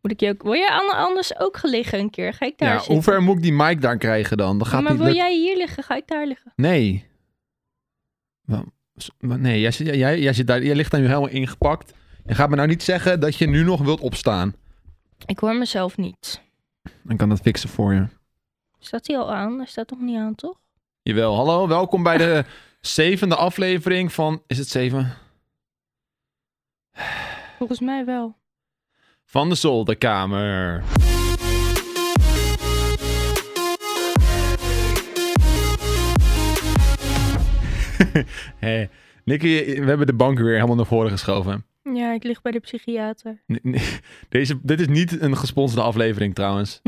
Moet ik je ook... Wil jij an- anders ook gaan liggen een keer? Ga ik daar Ja, zitten? hoe ver moet ik die mic daar krijgen dan? Dat gaat maar niet wil lukken. jij hier liggen? Ga ik daar liggen? Nee. Wa- s- wa- Nee, jij, zit- jij, jij, zit daar, jij ligt daar nu helemaal ingepakt. Je gaat me nou niet zeggen dat je nu nog wilt opstaan. Ik hoor mezelf niet. Dan kan dat fixen voor je. Staat hij al aan? Hij staat nog niet aan, toch? Jawel, hallo, welkom bij de zevende aflevering van... Is het zeven? Volgens mij wel. Van de zolderkamer. hey, Nicky, we hebben de bank weer helemaal naar voren geschoven. Ja, ik lig bij de psychiater. Nee, nee. Deze, dit is niet een gesponsorde aflevering trouwens.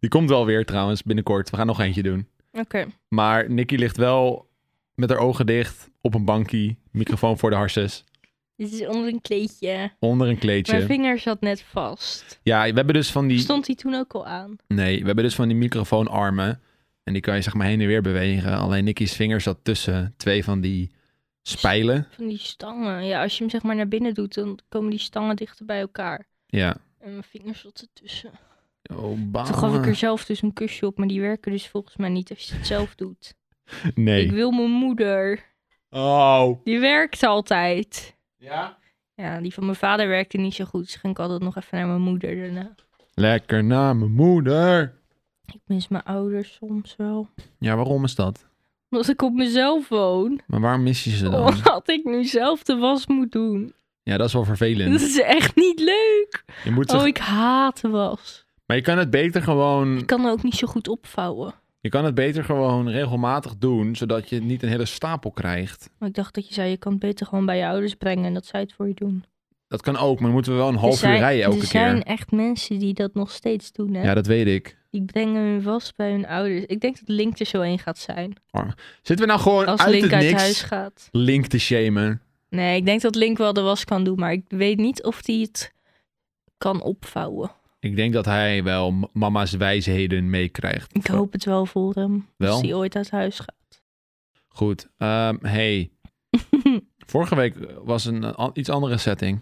Die komt wel weer trouwens binnenkort. We gaan nog eentje doen. Oké. Maar Nikki ligt wel met haar ogen dicht op een bankie. Microfoon voor de harses. Dit is onder een kleedje. Onder een Mijn kleedje. vinger zat net vast. Ja, we hebben dus van die... Stond hij toen ook al aan? Nee, we hebben dus van die microfoonarmen. En die kan je zeg maar heen en weer bewegen. Alleen Nikki's vinger zat tussen twee van die spijlen. Van die stangen. Ja, als je hem zeg maar naar binnen doet, dan komen die stangen dichter bij elkaar. Ja. En mijn vingers zat ertussen. Oh, baan. Toen gaf ik er zelf dus een kusje op, maar die werken dus volgens mij niet als je het zelf doet. Ik Nee. wil mijn moeder. Oh. Die werkt altijd. Ja? Ja, die van mijn vader werkte niet zo goed. Dus ging ik altijd nog even naar mijn moeder daarna. Lekker naar mijn moeder. Ik mis mijn ouders soms wel. Ja, waarom is dat? Omdat ik op mezelf woon. Maar waarom mis je ze dan? Omdat ik nu zelf de was moet doen. Ja, dat is wel Dat vervelend. is echt niet leuk. Je moet zich- Oh, ik haat de was. Maar je kan het beter Ik gewoon. kan ook niet zo goed opvouwen. Je kan het beter gewoon regelmatig doen, zodat je niet een hele stapel krijgt. Maar ik dacht dat je zei, je kan het beter gewoon bij je ouders brengen en dat zij het voor je doen. Dat kan ook, maar dan moeten we wel een half Er zijn- uur rijden elke Er zijn keer. echt mensen die dat nog steeds doen, hè? Ja, dat weet ik. Die brengen hun was bij hun ouders. Ik denk dat Link er zo een gaat zijn. Zitten we nou gewoon Als uit Link het uit niks huis gaat. Link te shamen? Nee, ik denk dat Link wel de was kan doen, maar ik weet niet of hij het kan opvouwen. Ik denk dat hij wel m- mama's wijsheden meekrijgt. Ik hoop het wel voor hem. Wel? Als hij ooit uit huis gaat. Goed. Ehm, hey. Vorige week was een eh, an- iets andere setting.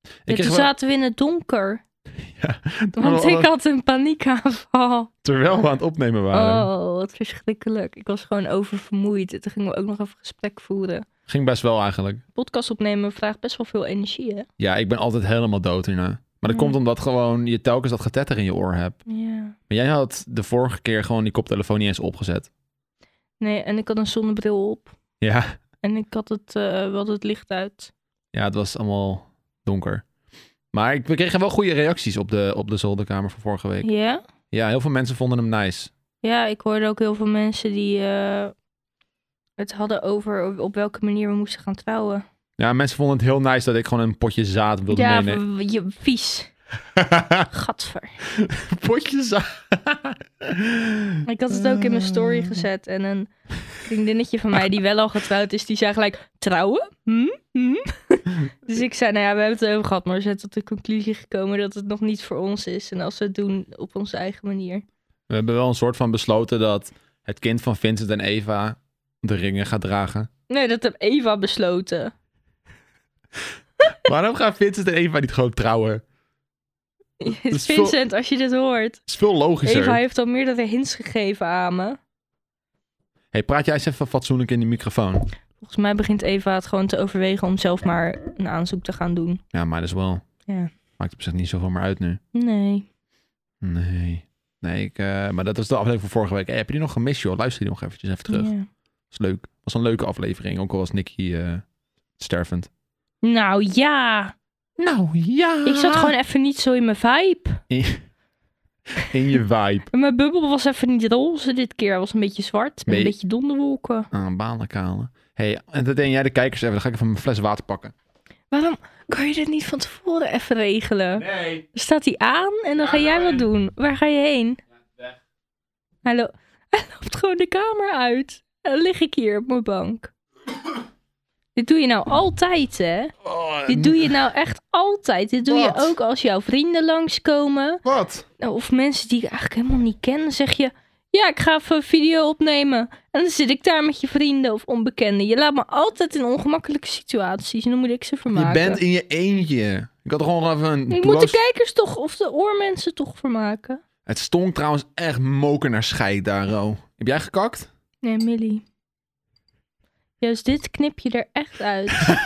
Ja, kreeg toen wel- zaten we in het donker. Ja, Want terwijl, ik had een paniekaanval. terwijl we aan het opnemen waren. Oh, wat verschrikkelijk. Ik was gewoon oververmoeid. En Toen gingen we ook nog even gesprek voeren. Ging best wel eigenlijk. Podcast opnemen vraagt best wel veel energie, hè? Ja, ik ben altijd helemaal dood hierna. Maar dat Ja. komt omdat gewoon je telkens dat getetter in je oor hebt. Ja. Maar jij had de vorige keer gewoon die koptelefoon niet eens opgezet. Nee, en ik had een zonnebril op. Ja, En ik had het, eh we hadden het licht uit. ja het was allemaal donker. Maar ik, we kregen wel goede reacties op de, op de zolderkamer van vorige week. Ja? Ja, heel veel mensen vonden hem nice. Ja, ik hoorde ook heel veel mensen die eh, het hadden over op, op welke manier we moesten gaan trouwen. Ja, mensen vonden het heel nice dat ik gewoon een potje zaad wilde ja, meenemen. v- je, vies. Gadver. potje zaad. Ik had het ook in mijn Mm. story gezet. En een vriendinnetje van mij die wel al getrouwd is, die zei gelijk, trouwen? Hm? Hm?" Dus ik zei, nou ja, we hebben het over gehad, maar we zijn tot de conclusie gekomen dat het nog niet voor ons is. En als we het doen op onze eigen manier. We hebben wel een soort van besloten dat het kind van Vincent en Eva de ringen gaat dragen. Nee, dat heb Eva besloten. Waarom gaan Vincent en Eva niet gewoon trouwen? is veel- Vincent, als je dit hoort. is veel logischer. Eva heeft al meerdere hints gegeven aan me. hey, praat jij eens even fatsoenlijk in die microfoon? Volgens mij begint Eva het gewoon te overwegen om zelf maar een aanzoek te gaan doen. Ja, might as well. Ja. Maakt op zich niet zoveel meer uit nu. Nee. Nee. Nee, ik, eh, maar dat was de aflevering van vorige week. Hey, heb je die nog gemist, joh? Luister die nog eventjes even terug. Ja. Was leuk. Was een leuke aflevering, ook al was Nicky eh, stervend. Nou ja. Nou, ja. Ik zat gewoon even niet zo in mijn vibe. in je vibe. En Mijn bubbel was even niet roze dit keer. Hij was een beetje zwart. Met Nee. een beetje donderwolken. Aan balenkalen. Hé, Ah, hey, entertain jij de kijkers even. Dan ga ik even mijn fles water pakken. Waarom kan je dit niet van tevoren even regelen? Nee. Dan Staat hij aan en dan ga jij wat doen. Waar ga je heen? weg. Hij, lo- hij loopt gewoon de kamer uit. En dan lig ik hier op mijn bank. Dit doe je nou altijd, hè? Oh, Dit doe je nou echt altijd. Dit doe Wat? je ook als jouw vrienden langskomen. Wat? Nou, Of mensen die ik eigenlijk helemaal niet ken. Dan zeg je, Ja, ik ga even een video opnemen. En dan zit ik daar met je vrienden of onbekenden. Je laat me altijd in ongemakkelijke situaties. En dan moet ik ze Je vermaken. bent in je eentje. Ik had gewoon even een... Ik moet de bloos- kijkers toch, of de oormensen toch vermaken. Het stonk trouwens echt moker naar scheid daar, Ro. Heb jij gekakt? Nee, Millie. Juist dit knip je er echt uit.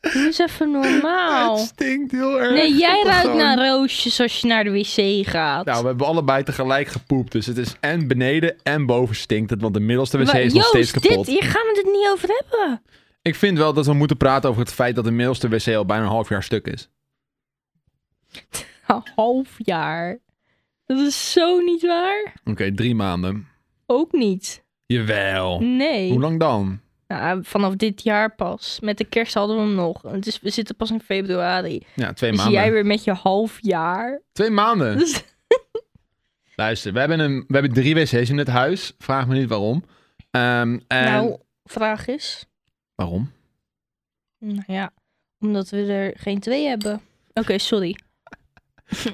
Doe eens even normaal. Het stinkt heel Nou. erg. Nee, jij Wat ruikt gewoon. naar roosjes als je naar de wc gaat. Nou, we hebben allebei tegelijk gepoept. Dus het is en beneden en boven stinkt het. Want de middelste wc Maar is nog steeds Joost, kapot. dit, hier gaan we het niet over hebben. Ik vind wel dat we moeten praten over het feit dat de middelste wc al bijna een half jaar stuk is. Een half jaar. Dat is zo niet waar. Oké, drie maanden. Ook niet. Jawel. Nee. Oh. Hoe lang dan? Nou, vanaf dit jaar pas. Met de kerst hadden we hem nog. Het is, we zitten pas in februari. Ja, twee Dus maanden. jij weer met je half jaar. Twee maanden. Dus, Luister, we hebben, een, we hebben drie wc's in het huis. Vraag me niet waarom. Ehm, en- nou, vraag is. Waarom? Nou ja, omdat we er geen twee hebben. Oké, sorry.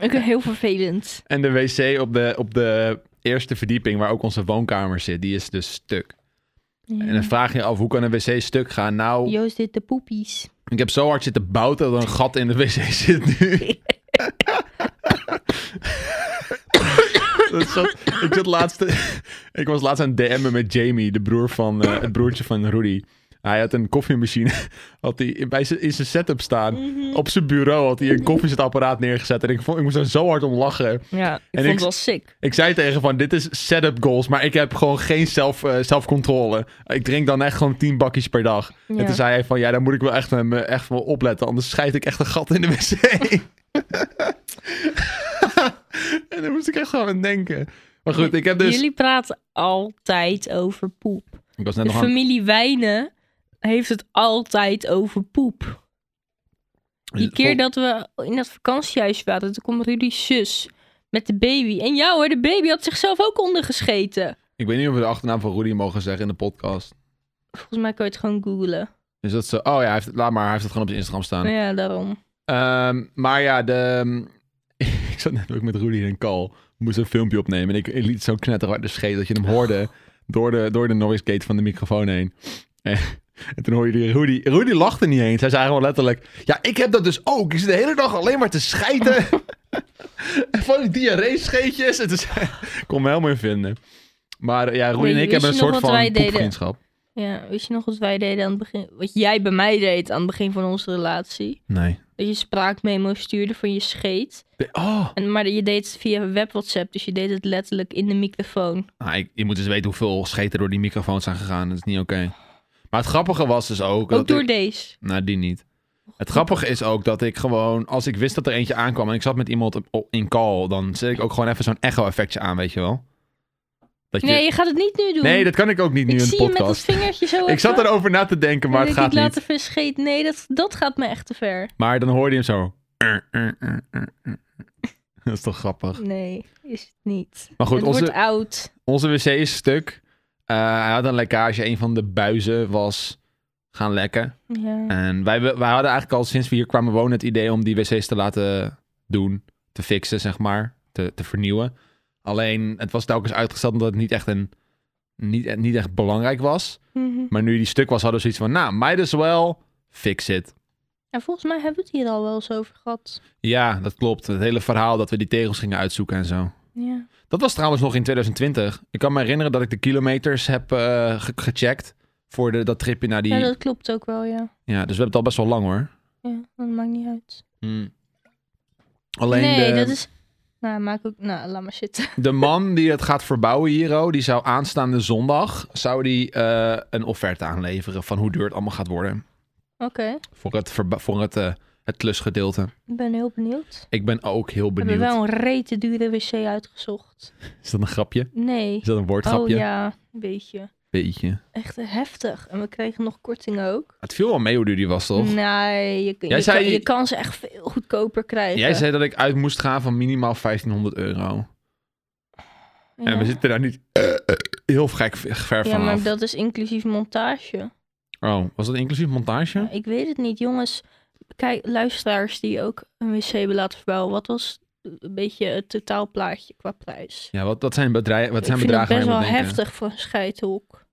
Ik ben heel vervelend. En de wc op de, op de eerste verdieping, waar ook onze woonkamer zit, die is dus stuk. En dan vraag je je af, hoe kan een wc stuk gaan? Nou, Joost dit de poepies. ik heb zo hard zitten bouten dat er een gat in de wc zit nu. Dat zat- ik, zat laatst, ik was laatst aan het DM'en met Jamie, de broer van, eh, het broertje van Rudy. Hij had een koffiemachine had hij bij zijn, in zijn setup staan. Op zijn bureau had hij een koffiezetapparaat neergezet. En ik, vond, ik moest daar zo hard om lachen. Ja, ik En vond ik- het wel sick. Ik zei tegen van, dit is setup goals, maar ik heb gewoon geen zelf, eh, zelfcontrole. ik drink dan echt gewoon tien bakjes per dag. En Ja. toen zei hij van, ja, daar moet ik wel echt, met me, echt wel opletten, anders scheid ik echt een gat in de wc. en daar moest ik echt gewoon aan denken. Maar goed, ik heb dus... Jullie praten altijd over poep. Ik was net De nog aan... familie Wijnen heeft het altijd over poep. Die keer dat we in dat vakantiehuis waren, toen kwam Rudy's zus met de baby. En jou hoor, de baby had zichzelf ook ondergescheten. Ik weet niet of we de achternaam van Rudy mogen zeggen in de podcast. Volgens mij kan je het gewoon googlen. Dus dat ze... Oh ja, hij heeft, laat maar, hij heeft het gewoon op zijn Instagram staan. Ja, daarom. Ehm, maar ja, de, ehm, ik zat net ook met Rudy in een call. We moesten een filmpje opnemen. En ik, ik liet zo knetter uit de scheet dat je hem hoorde door de, door de noise gate van de microfoon heen. En, en toen hoorde je Rudy. Rudy lachte niet eens. Hij zei gewoon letterlijk: Ja, ik heb dat dus ook. Ik zit de hele dag alleen maar te schijten. en van die diarree-scheetjes. Het is, ik kon me helemaal in vinden. Maar eh, ja, Rudy Weet- en ik wist hebben een je nog soort wat wij van deden? poepvriendschap. Ja, wist je nog wat wij deden aan het begin? Wat jij bij mij deed aan het begin van onze relatie? Nee. Dat je spraakmemo stuurde van je scheet. De- Oh, En, maar je deed het via web WhatsApp, dus je deed het letterlijk in de microfoon. Nou, ik- je moet eens weten hoeveel scheten door die microfoons zijn gegaan. Dat is niet oké. Maar het grappige was dus ook... dat Ook door ik- deze. Nou, die niet. Het grappige is ook dat ik gewoon... Als ik wist dat er eentje aankwam en ik zat met iemand op- op- in call... dan zet ik ook gewoon even zo'n echo-effectje aan, weet je wel? Dat je... Nee, je gaat het niet nu doen. Nee, dat kan ik ook niet nu ik in de zie je met dat podcast. vingertje zo. Ik zat even. erover na te denken, maar Dan het denk gaat ik, niet. later verscheet. Nee, dat, dat gaat me echt te ver. Maar dan hoorde je hem zo... Dat is toch grappig. Nee, is het niet. Maar goed, het onze... wordt oud. Onze wc is stuk. Eh, hij had een lekkage. Een van de buizen was gaan lekken. Ja. En wij, wij hadden eigenlijk al sinds we hier kwamen wonen het idee om die wc's te laten doen. Te fixen, zeg maar. Te, te vernieuwen. Alleen, het was telkens uitgesteld omdat het niet echt, een, niet, niet echt belangrijk was. Mhm. Maar nu die stuk was, hadden we zoiets van... Nou, might as well fix it. En volgens mij hebben we het hier al wel eens over gehad. Ja, dat klopt. Het hele verhaal dat we die tegels gingen uitzoeken en zo. Ja. Dat was trouwens nog in 2020. Ik kan me herinneren dat ik de kilometers heb eh, ge- gecheckt voor de, dat tripje naar die... ja, Ja, dat klopt ook wel, ja. dus we hebben het al best wel lang hoor. Ja, dat maakt niet uit. Alleen nee, de, dat is... Nou, maak ook... Nou, laat maar zitten. de man die het gaat verbouwen hier, oh, die zou aanstaande zondag zou die, eh, een offerte aanleveren van hoe duur het allemaal gaat worden. Oké, Voor het, verba- voor het, eh, het klusgedeelte. ik ben heel benieuwd. Ik ben ook heel We benieuwd. hebben wel een rete dure wc uitgezocht. Is dat een grapje? Nee. Is dat een Oh woordgrapje? ja, een beetje. Beetje. Echt heftig. En we kregen nog korting ook. Het viel wel mee hoe duur die was, toch? Nee, je, je, Jij zei- kan, je kan ze echt veel goedkoper krijgen. Jij zei dat ik uit moest gaan van minimaal 1500 euro. En Ja. we zitten daar niet eh, eh, heel gek ver Ja, vanaf. maar dat is inclusief montage. Oh, was dat inclusief montage? Ik weet het niet, jongens. Kijk, luisteraars die ook een wc hebben laten verbouwen. Wat was een beetje het totaalplaatje qua prijs. Ja, wat, dat zijn, bedrijven, wat zijn ik vind het bedragen best wel waar je moet denken. heftig voor een scheidhok.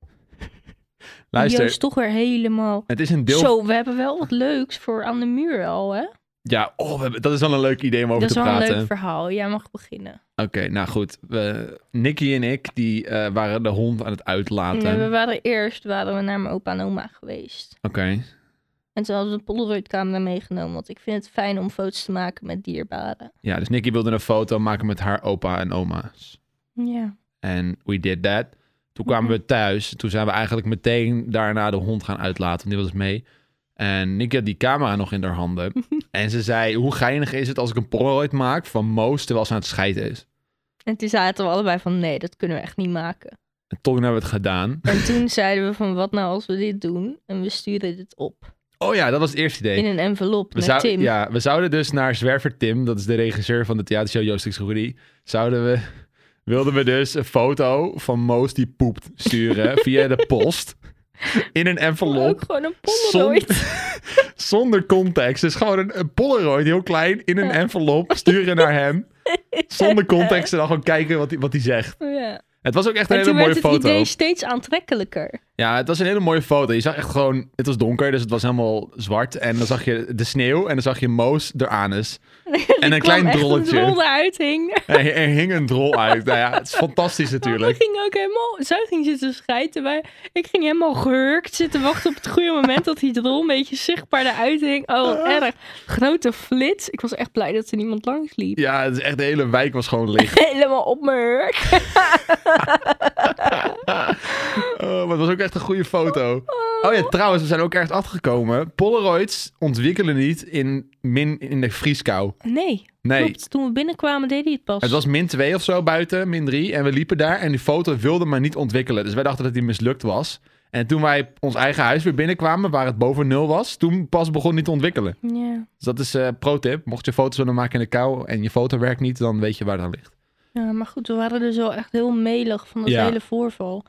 Die is Luister, toch weer helemaal... het is een deel... Zo, we hebben wel wat leuks voor aan de muur al, hè? Ja, oh, we hebben- dat is wel een leuk idee om over dat is te wel praten. een leuk verhaal. Jij mag beginnen. Oké, nou goed. We, Nicky en ik die, eh, waren de hond aan het uitlaten. Nee, we waren eerst waren we naar mijn opa en oma geweest. Oké. En toen hadden we een Polaroid-camera meegenomen. Want ik vind het fijn om foto's te maken met dierbaren. Ja, dus Nicky wilde een foto maken met haar opa en oma's. Ja. En we did that. Toen kwamen Mhm. we thuis. Toen zijn we eigenlijk meteen daarna de hond gaan uitlaten. Die was mee. En Nicky had die camera nog in haar handen. en ze zei, hoe geinig is het als ik een polaroid maak van Moos terwijl ze aan het scheiden is. En toen zaten we allebei van, nee, dat kunnen we echt niet maken. En toen hebben we het gedaan. En toen zeiden we van, wat nou als we dit doen? En we sturen dit op. Oh ja, dat was het eerste idee. In een envelop We, naar zou- Tim. Ja, we zouden dus naar Zwerver Tim, dat is de regisseur van de theatershow Joost Groerie, zouden we, wilden we dus een foto van Moos die poept sturen via de post in een Ook envelop gewoon een Polaroid. zonder context. Dus gewoon een, een Polaroid, heel klein, in een envelop sturen naar hem. Zonder context en dan gewoon kijken wat hij wat hij zegt. ja. Het was ook echt een En hele toen mooie werd het foto. idee steeds aantrekkelijker. Ja, het was een hele mooie foto. Je zag echt gewoon, het was donker, dus het was helemaal zwart. En dan zag je de sneeuw en dan zag je Moos de anus. En een klein drolletje. Een drol eruit hing. Er, er hing een drol uit. Nou ja, het is Ik fantastisch natuurlijk. ging ook helemaal, zij ging zitten schijten. Wij, ik ging helemaal gehurkt zitten wachten op het goede moment dat die drol een beetje zichtbaar eruit hing. Oh, wat Ah. erg. Grote flits. Ik was echt blij dat er niemand langs liep. Ja, het is echt de hele wijk was gewoon licht. Helemaal op mijn hurk. Oh, maar het was ook echt een goede foto. Oh ja, trouwens, we zijn ook ergens afgekomen. Polaroids ontwikkelen niet in, min, in de vrieskou. Nee, Nee, klopt. Toen we binnenkwamen deed hij het pas. het was min 2 of zo buiten, min 3. En we liepen daar en die foto wilde maar niet ontwikkelen. Dus wij dachten dat die mislukt was. En toen wij ons eigen huis weer binnenkwamen, waar het boven nul was, toen pas begon die te ontwikkelen. Ja. Dus dat is eh pro-tip. Mocht je foto's willen maken in de kou en je foto werkt niet, dan weet je waar het aan ligt. ja, maar goed, we waren dus wel echt heel melig van dat Ja. hele voorval.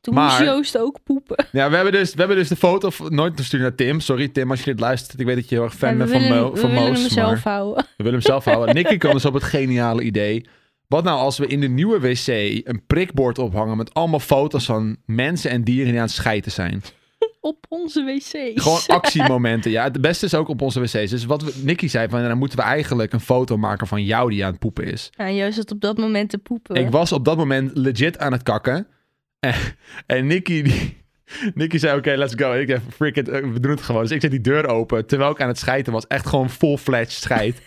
Toen Maar- moest Joost ook poepen. Ja, we hebben dus, we hebben dus de foto v- nooit gestuurd naar Tim. Sorry Tim, als je dit luistert. Ik weet dat je heel erg Maar fan bent we van, willen, Mo, we van willen Moos. hem maar zelf houden. We willen hem zelf houden. Nicky kwam dus op het geniale idee. Wat nou als we in de nieuwe wc een prikbord ophangen met allemaal foto's van mensen en dieren die aan het schijten zijn. Op onze wc's. Gewoon actiemomenten. Ja, het beste is ook op onze wc's. Dus wat we, Nicky zei, van, dan moeten we eigenlijk een foto maken van jou die aan het poepen is. Ja, en Joost zat op dat moment te poepen. Ik was op dat moment legit aan het kakken. En, en Nicky, die, Nicky zei, oké, let's go. En ik dacht, frick it, eh, we doen het gewoon. Dus ik zet die deur open, terwijl ik aan het schijten was. Echt gewoon full-fledged scheid.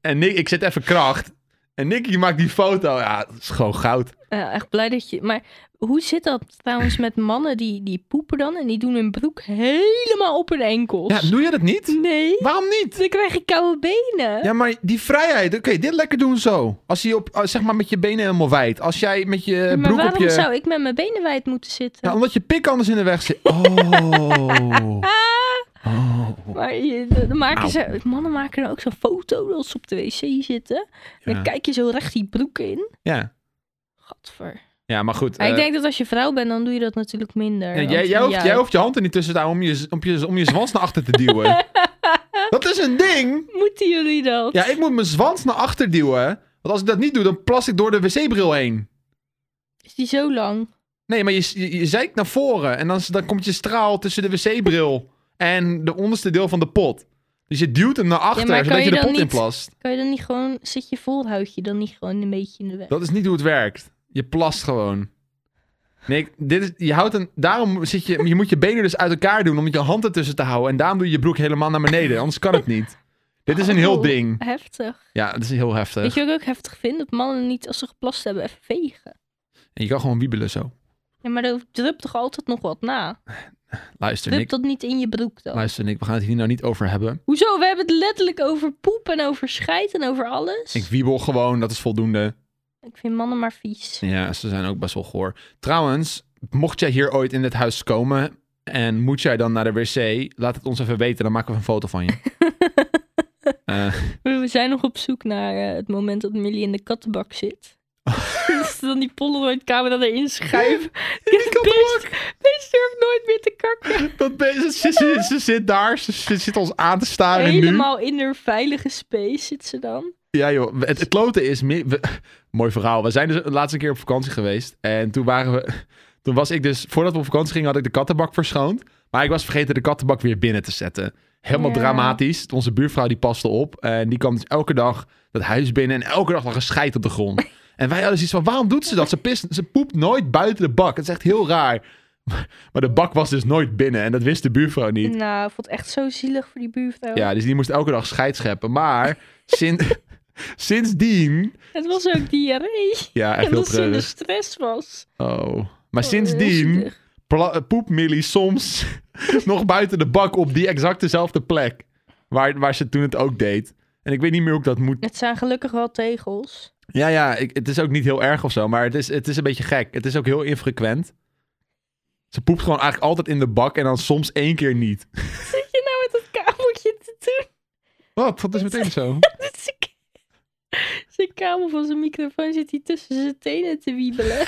en Nick, ik zet even kracht. En Nicky maakt die foto. Ja, dat is gewoon goud. Ja, echt blij dat je. Maar hoe zit dat trouwens met mannen die, die poepen dan en die doen hun broek helemaal op hun enkels? Ja, doe je dat niet? Nee, Waarom niet? dan krijg ik koude benen. Ja, maar die vrijheid. Oké, dit lekker doen zo. Als je op, zeg maar met je benen helemaal wijd. Als jij met je maar broek waarom op je... zou ik met mijn benen wijd moeten zitten? Ja, omdat je pik anders in de weg zit. Oh. Ah, oh. Maar je, de- de maken Auw. ze, mannen maken dan ook zo'n foto dat ze op de wc zitten. En Ja. Dan kijk je zo recht die broek in. Ja. Gadver. ja, maar goed. Maar ik eh, denk dat als je vrouw bent, dan doe je dat natuurlijk minder. Ja, want jij, jij, hoeft, ja, jij hoeft je hand er niet tussen te houden om je, om, je, om je zwans naar achter te duwen. dat is een ding. Moeten jullie dat? Ja, ik moet mijn zwans naar achter duwen. Want als ik dat niet doe, dan plas ik door de wc-bril heen. Is die zo lang? Nee, maar je, je, je zeikt naar voren. En dan, is- dan komt je straal tussen de wc-bril en de onderste deel van de pot. Dus je duwt hem naar achter, maar kan zodat je, je de dan pot niet- inplast. Kan je dan niet gewoon, zit je voorhuidje dan niet gewoon een beetje in de weg? Dat is niet hoe het werkt. Je plast gewoon. Nee, ik- dit is, je houdt een, daarom zit je, je moet je benen dus uit elkaar doen om met je hand ertussen te houden. En daarom doe je je broek helemaal naar beneden, anders kan het niet. Dit is een heel Oh. ding. Heftig. Ja, het is heel heftig. Weet je wat ik ook heftig vind? Dat mannen niet, als ze geplast hebben, even vegen. En je kan gewoon wiebelen zo. Ja, maar er drupt toch altijd nog wat na? Luister, Drupt dat Nick. niet in je broek dan? Luister, Nick, we gaan het hier nou niet over hebben. Hoezo? We hebben het letterlijk over poep en over scheid en over alles. Ik wiebel gewoon, dat is voldoende. Ik vind mannen maar vies. Ja, ze zijn ook best wel goor. Trouwens, mocht jij hier ooit in dit huis komen en moet jij dan naar de wc, laat het ons even weten, dan maken we een foto van je. Eh, We we zijn nog op zoek naar eh, het moment dat Millie in de kattenbak zit. dat ze dan die Polaroid-camera erin schuiven. Het beest, beest durft nooit meer te kakken. Dat be- ze, ze, ze- ze zit daar, ze, ze zit ons aan te staren nu. Helemaal in haar veilige space zit ze dan. Ja joh, We- het, het klote is... mi- we- mooi verhaal. We zijn dus de laatste keer op vakantie geweest. En toen waren we... Toen was ik dus... Voordat we op vakantie gingen had ik de kattenbak verschoond. Maar ik was vergeten de kattenbak weer binnen te zetten. Helemaal Ja. dramatisch. Onze buurvrouw die paste op. En die kwam dus elke dag dat huis binnen. En elke dag lag een scheid op de grond. En wij hadden zoiets van... Waarom doet ze dat? Ze, pist, ze poept nooit buiten de bak. Het is echt heel raar. Maar de bak was dus nooit binnen. En dat wist de buurvrouw niet. Nou, ik vond het echt zo zielig voor die buurvrouw. Ja, dus die moest elke dag scheid scheppen. Maar sind, sindsdien... Het was ook diarree. Ja, echt heel Omdat ze in de treurig. stress was. Oh. Maar Oh, heel sindsdien zielig. pla- eh, poept Millie soms nog buiten de bak op die exact dezelfde plek. Waar, waar ze toen het ook deed. En ik weet niet meer hoe ik dat moet... Het zijn gelukkig wel tegels. Ja, ja, ik, het is ook niet heel erg of zo. Maar het is, het is een beetje gek. Het is ook heel infrequent. Ze poept gewoon eigenlijk altijd in de bak en dan soms één keer niet. Zit je nou met dat kabeltje te doen? Wat? Dat is meteen zo. Dat is een- Zijn kabel van zijn microfoon zit hier tussen zijn tenen te wiebelen.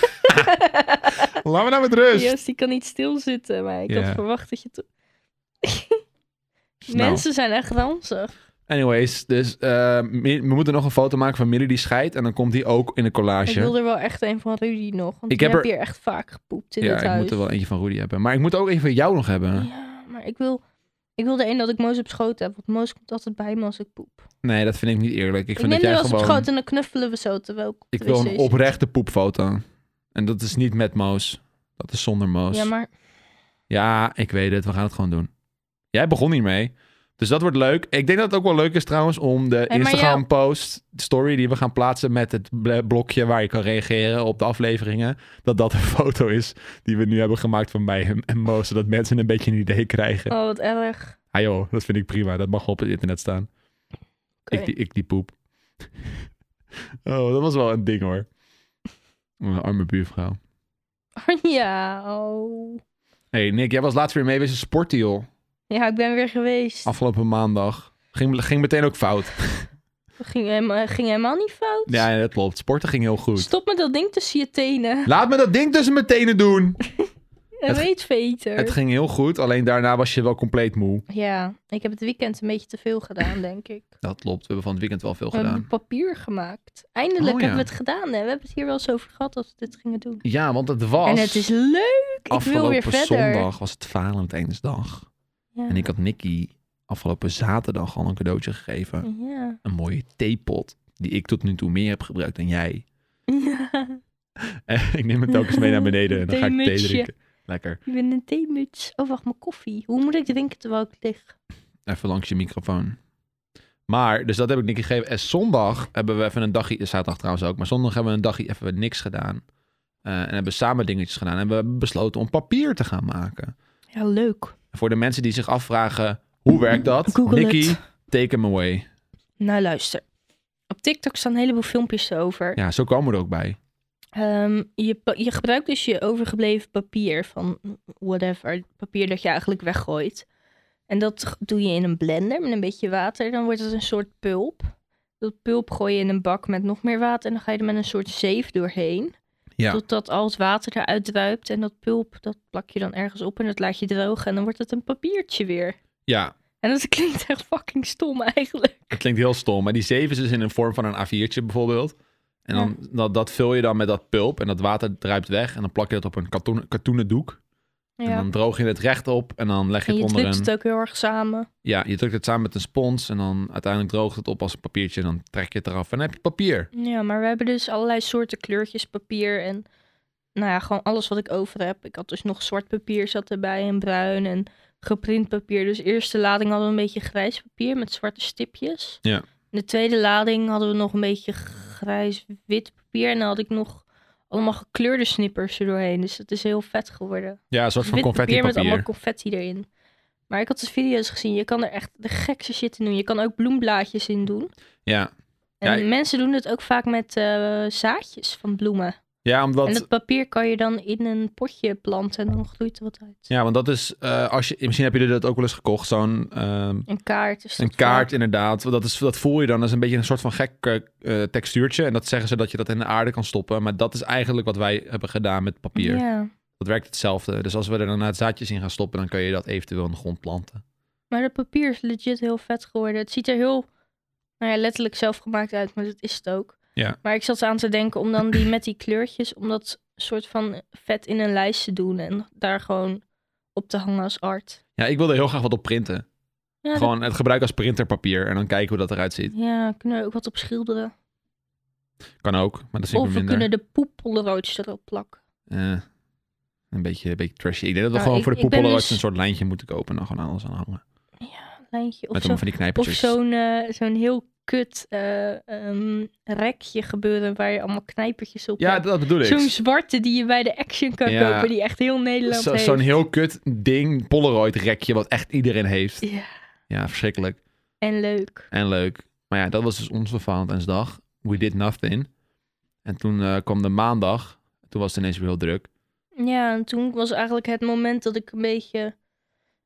Laat me nou met rust. Joost, die kan niet stilzitten, maar ik Ja. Nou. had verwacht dat je... to- Snel. Mensen zijn echt ranzig. Anyways, dus eh, Mi- we moeten nog een foto maken van Millie die scheidt. En dan komt die ook in een collage. Ik wil er wel echt een van Rudy nog, want Ik ik heb heb er- hier echt vaak gepoept in ja, dit ik huis. moet er wel eentje van Rudy hebben. Maar ik moet er ook even van jou nog hebben. Ja, maar ik wil, ik wil de een dat ik Moos op schoot heb, want Moos komt altijd bij me als ik poep. Nee, dat vind ik niet eerlijk. Ik Ik, vind neem dat die jij wel eens op gewoon... schoot en dan knuffelen we zo terwijl ik op Ik de wil wc een zit. oprechte poepfoto. En dat is niet met Moos. Dat is zonder Moos. Ja, maar Ja, ik weet het. We gaan het gewoon doen. Jij begon hiermee. Dus dat wordt leuk. Ik denk dat het ook wel leuk is trouwens om de maar jou- Instagram-post, story die we gaan plaatsen met het bl- blokje waar je kan reageren op de afleveringen, dat dat een foto is die we nu hebben gemaakt van mij en- en Mo, zodat mensen een beetje een idee krijgen. oh wat erg. Ah joh, dat vind ik prima. Dat mag op het internet staan. Oké. Ik, die, ik die poep. oh, dat was wel een ding hoor. Mijn arme buurvrouw. Ja, oh. hey, Nick, jij was laatst weer mee wezen sporten joh. Ja, ik ben weer geweest. Afgelopen maandag. Ging, ging meteen ook fout. Ging, helemaal, ging helemaal niet fout. Ja, ja, dat klopt. Sporten ging heel goed. Stop met dat ding tussen je tenen. Laat me dat ding tussen mijn tenen doen. Een weetveter. Het ging heel goed, alleen daarna was je wel compleet moe. Ja, ik heb het weekend een beetje te veel gedaan, denk ik. Dat klopt. We hebben van het weekend wel veel We hebben papier gemaakt. Eindelijk Oh, ja. hebben we het gedaan. Hè? We hebben het hier wel eens over gehad dat we dit gingen doen. Ja, want het was En het is leuk. Ik wil afgelopen weer verder. zondag was het Valentijnsdag. Ja. En ik had Nicky afgelopen zaterdag al een cadeautje gegeven. Ja. Een mooie theepot. Die ik tot nu toe meer heb gebruikt dan jij. ja. ik neem het telkens mee naar beneden en dan ga ik thee Theemutsje. drinken. Lekker. Ik ben een theemuts. Oh, wacht, mijn koffie. Hoe moet ik drinken terwijl ik lig? Even langs je microfoon. Maar, dus dat heb ik Nicky gegeven. En zondag hebben we even een dagje, zaterdag trouwens ook, maar zondag hebben we een dagje even niks gedaan. Eh, en hebben samen dingetjes gedaan. En we hebben besloten om papier te gaan maken. Ja, leuk. Voor de mensen die zich afvragen, hoe werkt dat? Google Nicky, het. take him away. Nou, luister. Op TikTok staan een heleboel filmpjes over. Ja, zo komen we er ook bij. Ehm, je, pa- je gebruikt dus je overgebleven papier van whatever, papier dat je eigenlijk weggooit. En dat g- doe je in een blender met een beetje water. Dan wordt het een soort pulp. Dat pulp gooi je in een bak met nog meer water. En dan ga je er met een soort zeef doorheen. Ja. Totdat al het water eruit druipt. En dat pulp, dat plak je dan ergens op en dat laat je drogen. En dan wordt het een papiertje weer. Ja, En dat klinkt echt fucking stom eigenlijk. het klinkt heel stom. Maar die zeven is dus in een vorm van een A4'tje bijvoorbeeld. En dan, dat, dat vul je dan met dat pulp en dat water druipt weg. En dan plak je dat op een katoen, katoenen doek. En Ja. dan droog je het recht op en dan leg je En het je onder drukt een... het ook heel erg samen. Ja, je drukt het samen met een spons en dan uiteindelijk droogt het op als een papiertje. En dan trek je het eraf en dan heb je papier. Ja, maar we hebben dus allerlei soorten kleurtjes papier en nou ja, gewoon alles wat ik over heb. Ik had dus nog zwart papier zat erbij en bruin en geprint papier. Dus eerste lading hadden we een beetje grijs papier met zwarte stipjes. Ja. De tweede lading hadden we nog een beetje grijs-wit papier en dan had ik nog allemaal gekleurde snippers erdoorheen. Dus dat is heel vet geworden. Ja, een soort van Wit confetti papier met allemaal papier. confetti erin. Maar ik had dus video's gezien. Je kan er echt de gekste shit in doen. Je kan ook bloemblaadjes in doen. Ja. Ja, En ik- mensen doen het ook vaak met eh, zaadjes van bloemen. Ja, omdat, En dat papier kan je dan in een potje planten en dan groeit er wat uit. ja, want dat is, eh, als je, misschien heb je dat ook wel eens gekocht, zo'n ehm, Een kaart is dat een kaart inderdaad. Dat, is, dat voel je dan als een beetje een soort van gek eh, textuurtje. En dat zeggen ze dat je dat in de aarde kan stoppen. Maar dat is eigenlijk wat wij hebben gedaan met vaak. papier. Ja, Dat werkt hetzelfde. Dus als we er dan het zaadjes in gaan stoppen, dan kun je dat eventueel in de grond planten. maar dat papier is legit heel vet geworden. Het ziet er heel nou ja, letterlijk zelfgemaakt uit, maar dat is het ook. Ja. Maar ik zat aan te denken om dan die met die kleurtjes, om dat soort van vet in een lijst te doen en daar gewoon op te hangen als art. Ja, ik wilde heel graag wat op printen. Ja, dat- Gewoon het gebruik als printerpapier en dan kijken hoe dat eruit ziet. ja kunnen we ook wat op schilderen. Kan ook, maar dat vind Of ik me we minder. kunnen de poeppolroods erop plakken. Eh, een, beetje, een beetje trashy. Ik denk dat we Nou, gewoon ik- voor de ik ben poepelroods dus- een soort lijntje moeten kopen en dan gewoon alles aan hangen. Lijntje of Met zo. allemaal van die Of knijpertjes. zo'n eh, zo'n heel kut eh, ehm, rekje gebeuren waar je allemaal knijpertjes op Ja, hebt. dat bedoel ik. Zo'n zwarte die je bij de Action kan Ja. kopen, die echt heel Nederland Zo- heeft. zo'n heel kut ding, Polaroid rekje, wat echt iedereen heeft. Ja, Ja, verschrikkelijk. en leuk. En leuk. Maar ja, dat was dus onze Valentijnsdag. We did nothing. En toen eh, kwam de maandag. Toen was het ineens weer heel druk. Ja, en toen was eigenlijk het moment dat ik een beetje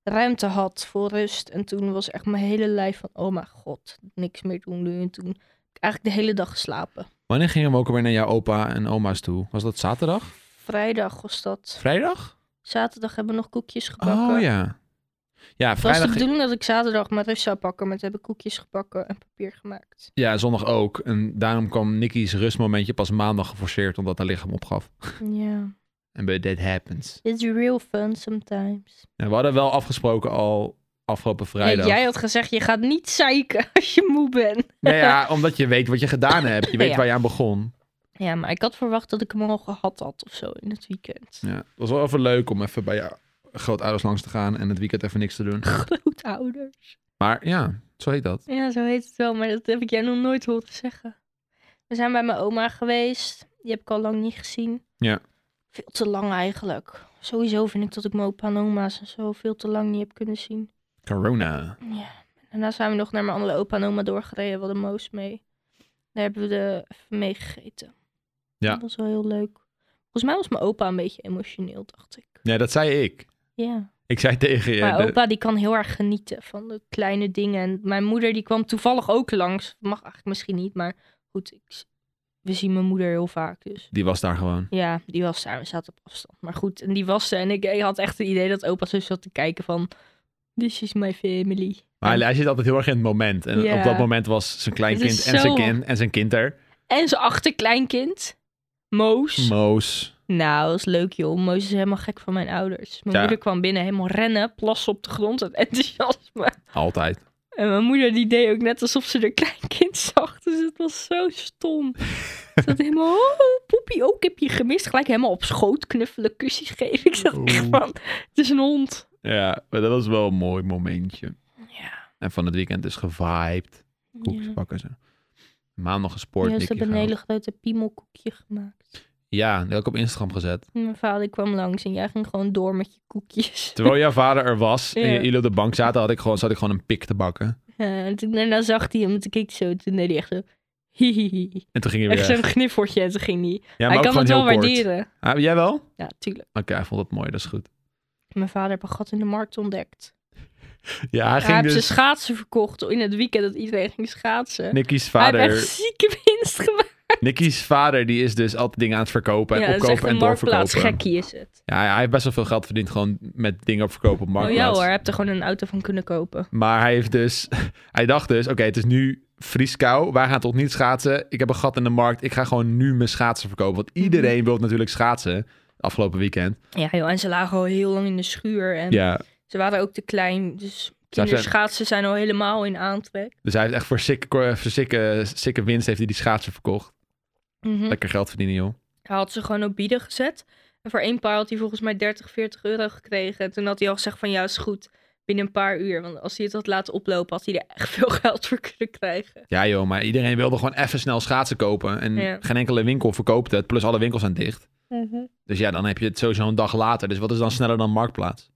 ruimte had voor rust. En toen was echt mijn hele lijf van, oh mijn god, niks meer doen nu. En toen heb ik eigenlijk de hele dag geslapen. Wanneer gingen we ook alweer naar jouw opa en oma's toe? Was dat zaterdag? Vrijdag was dat. Vrijdag? Zaterdag hebben we nog koekjes gebakken. Oh ja. Ja, Het was de vrijdag. bedoeling dat ik zaterdag mijn rust zou pakken, maar toen heb ik koekjes gebakken en papier gemaakt. Ja, zondag ook. En daarom kwam Nicky's rustmomentje pas maandag geforceerd, omdat haar lichaam opgaf. Ja. En bij That Happens. It's real fun sometimes. En we hadden wel afgesproken al afgelopen Kijk, vrijdag. jij had gezegd, je gaat niet zeiken als je moe bent. Nou ja, omdat je weet wat je gedaan hebt. Je weet Ja. waar je aan begon. Ja, maar ik had verwacht dat ik hem al gehad had of zo in het weekend. Ja, het was wel even leuk om even bij je grootouders langs te gaan en het weekend even niks te doen. Grootouders. Maar ja, zo heet dat. Ja, zo heet het wel, maar dat heb ik jij nog nooit horen zeggen. We zijn bij mijn oma geweest. Die heb ik al lang niet gezien. Ja. Veel te lang eigenlijk. Sowieso vind ik dat ik mijn opa en oma's en zo veel te lang niet heb kunnen zien. Corona. Ja. Daarna zijn we nog naar mijn andere opa en oma doorgereden. We hadden Moos mee. Daar hebben we de, even mee gegeten. Ja. Dat was wel heel leuk. Volgens mij was mijn opa een beetje emotioneel, dacht ik. Ja, dat zei ik. Ja. Ik zei tegen je. mijn dat- opa die kan heel erg genieten van de kleine dingen. En mijn moeder die kwam toevallig ook langs. Mag eigenlijk misschien niet, maar goed. Ik, we zien mijn moeder heel vaak, dus... Die was daar gewoon. Ja, die was daar. We zaten op afstand. Maar goed, en die was er. En ik, ik had echt het idee dat opa zo zat te kijken van... This is my family. Maar En- hij zit altijd heel erg in het moment. En Ja. op dat moment was zijn Het is kleinkind en zijn zo- kind en zijn kind er. En zijn achterkleinkind, Moos. Moos. nou, dat is leuk joh. Moos is helemaal gek van mijn ouders. Mijn Ja. moeder kwam binnen, helemaal rennen, plassen op de grond, het enthousiasme. Altijd. En mijn moeder die deed ook net alsof ze haar kleinkind zag. Dus het was zo stom. Ze had helemaal, oh poepie, ook heb je gemist. Gelijk helemaal op schoot knuffelen, kusjes geven. Ik zat echt Oeh. van, het is een hond. Ja, maar dat was wel een mooi momentje. Ja. En van het weekend is gevibed. Koekjes pakken ze. Maandag gesport. Ja, ze Nicky hebben een gehaald. hele grote piemelkoekje gemaakt. Ja, die heb ik op Instagram gezet. Mijn vader kwam langs en jij ging gewoon door met je koekjes. Terwijl jouw vader er was en Ja. jullie op de bank zaten, had ik gewoon, zat ik gewoon een pik te bakken. Ja, en toen daarna zag hij hem en toen keek hij zo. Toen deed hij echt zo... Hihihi. En toen ging hij weer Echt weg. zo'n gniffortje en toen ging hij. Ja, hij ook kan gewoon het wel heel kort. waarderen. Ah, jij wel? Oké, Ja, tuurlijk. hij vond het mooi, dat is goed. Mijn vader heeft een gat in de markt ontdekt. Ja, hij Hij, ging heeft dus... zijn schaatsen verkocht in het weekend dat iedereen ging schaatsen. Nicky's Hij heeft vader, echt zieke winst gemaakt. Nicky's vader die is dus altijd dingen aan het verkopen en Ja, dat is echt opkopen een en marktplaats. doorverkopen. Gekkie is het. Ja, hij heeft best wel veel geld verdiend gewoon met dingen op verkopen op Oh ja marktplaats. hoor, hij hebt er gewoon een auto van kunnen kopen. Maar hij heeft dus, hij dacht dus, oké, het is nu vrieskou. Wij gaan toch niet schaatsen. Ik heb een gat in de markt. Ik ga gewoon nu mijn schaatsen verkopen. Want Mhm. iedereen wil natuurlijk schaatsen. Afgelopen weekend. Ja joh, en ze lagen al heel lang in de schuur. En Ja. ze waren ook te klein. Dus zijn- kinderschaatsen zijn al helemaal in aantrek. Dus hij heeft echt voor sikke, voor sikke, sikke winst heeft hij die schaatsen verkocht. Mhm. Lekker geld verdienen, joh. Hij had ze gewoon op bieden gezet. En voor één paar had hij volgens mij 30, 40 euro gekregen. En toen had hij al gezegd van ja, is goed. Binnen een paar uur. Want als hij het had laten oplopen, had hij er echt veel geld voor kunnen krijgen. Ja, joh, maar iedereen wilde gewoon even snel schaatsen kopen. En Ja. geen enkele winkel verkoopt het. Plus alle winkels zijn dicht. Mhm. Dus ja, dan heb je het sowieso een dag later. Dus wat is dan sneller dan Marktplaats?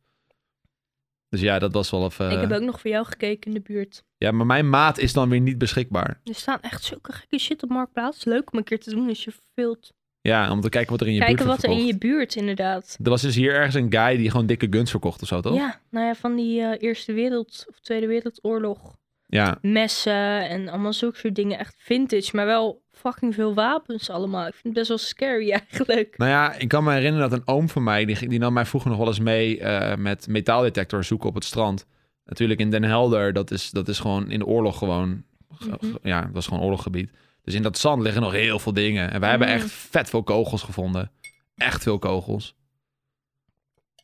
Dus ja, dat was wel even... Ik heb ook nog voor jou gekeken in de buurt. Ja, maar mijn maat is dan weer niet beschikbaar. Er staan echt zulke gekke shit op Marktplaats. Leuk om een keer te doen als je verveelt. Ja, om te kijken wat er in je Kijken buurt wordt wat er in verkocht. je buurt inderdaad. Er was dus hier ergens een guy die gewoon dikke guns verkocht of zo, toch? Ja, nou ja, van die eh, Eerste Wereld of Tweede Wereldoorlog. Ja. Messen en allemaal zulke soort dingen. Echt vintage, maar wel fucking veel wapens allemaal. Ik vind het best wel scary eigenlijk. Nou ja, ik kan me herinneren dat een oom van mij, die, ging- die nam mij vroeger nog wel eens mee eh, met metaaldetector zoeken op het strand. Natuurlijk in Den Helder, dat is, dat is gewoon in de oorlog gewoon ge- Mhm. ge- ja, dat was gewoon oorlogsgebied. Dus in dat zand liggen nog heel veel dingen. En wij hebben Mm. echt vet veel kogels gevonden. Echt veel kogels.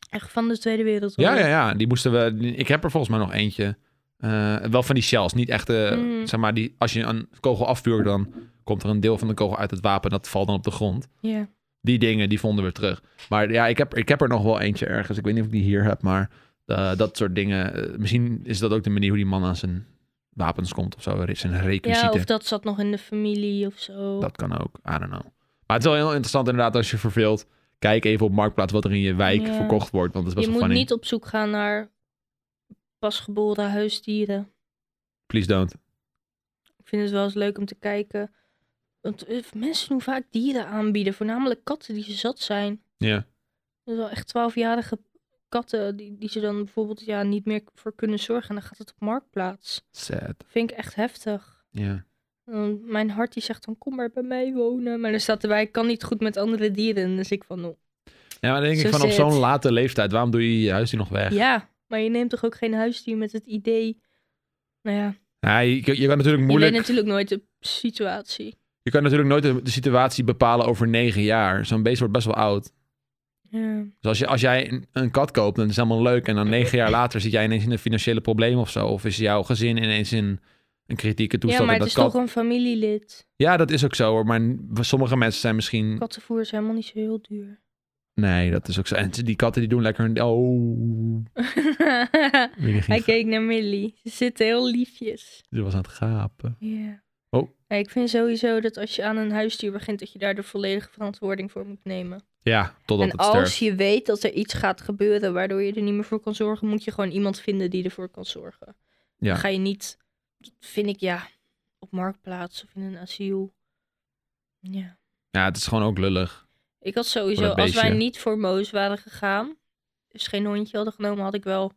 Echt van de Tweede Wereldoorlog. Ja, ja, ja. Die moesten we. Ik heb er volgens mij nog eentje. Eh, wel van die shells. Niet echt. eh, Mm. Zeg maar, die, als je een kogel afvuurt, dan komt er een deel van de kogel uit het wapen. Dat valt dan op de grond. Ja. Die dingen, die vonden we terug. Maar ja, ik heb, ik heb er nog wel eentje ergens. Ik weet niet of ik die hier heb, maar eh, dat soort dingen. Eh, misschien is dat ook de manier hoe die man aan zijn wapens komt of zo. Zijn Ja, requisieten. of dat zat nog in de familie of zo. Dat kan ook. I don't know. Maar het is wel heel interessant inderdaad als je verveelt. Kijk even op Marktplaats wat er in je wijk Ja. verkocht wordt. Want het is Je best moet wel funny. niet op zoek gaan naar pasgeboren huisdieren. Please don't. Ik vind het wel eens leuk om te kijken. Want eh, mensen doen vaak dieren aanbieden. Voornamelijk katten die ze zat zijn. Ja. Dus wel echt twaalfjarige katten die, die ze dan bijvoorbeeld ja, niet meer voor kunnen zorgen. En dan gaat het op marktplaats. Sad. Vind ik echt heftig. Ja. En dan mijn hart die zegt dan kom maar bij mij wonen. Maar dan staat erbij, ik kan niet goed met andere dieren. En dus ik van, oh. Ja, maar dan denk Zo ik van op zit. zo'n late leeftijd, waarom doe je je huisdier nog weg? Ja. ja, maar je neemt toch ook geen huisdier met het idee. Nou ja, je, je kan natuurlijk je weet moeilijk, natuurlijk nooit de situatie. je kan natuurlijk nooit de, de situatie bepalen over negen jaar. Zo'n beest wordt best wel oud. Ja. Dus als, je, als jij een, een kat koopt, dan is het helemaal leuk. En dan negen jaar later zit jij ineens in een financiële probleem of zo. Of is jouw gezin ineens in een kritieke toestand. ja, maar en het is dat kat- toch een familielid. Ja, dat is ook zo hoor. Maar n- sommige mensen zijn misschien... Kattenvoer is helemaal niet zo heel duur. Nee, dat is ook zo. En die katten die doen lekker... hun- Oh, Willy ging Hij keek naar Millie. Ze zitten heel liefjes. ze was aan het gapen. Ja. Oh. Ja, ik vind sowieso dat als je aan een huisdier begint, dat je daar de volledige verantwoording voor moet nemen. Ja, totdat en het als sterft. je weet dat er iets gaat gebeuren waardoor je er niet meer voor kan zorgen, moet je gewoon iemand vinden die ervoor kan zorgen. Ja. Dan ga je niet, dat vind ik ja, op marktplaats of in een asiel. Ja. Ja, het is gewoon ook lullig. Ik had sowieso, Voor dat als wij beestje. niet voor Moos waren gegaan, dus geen hondje hadden genomen, had ik wel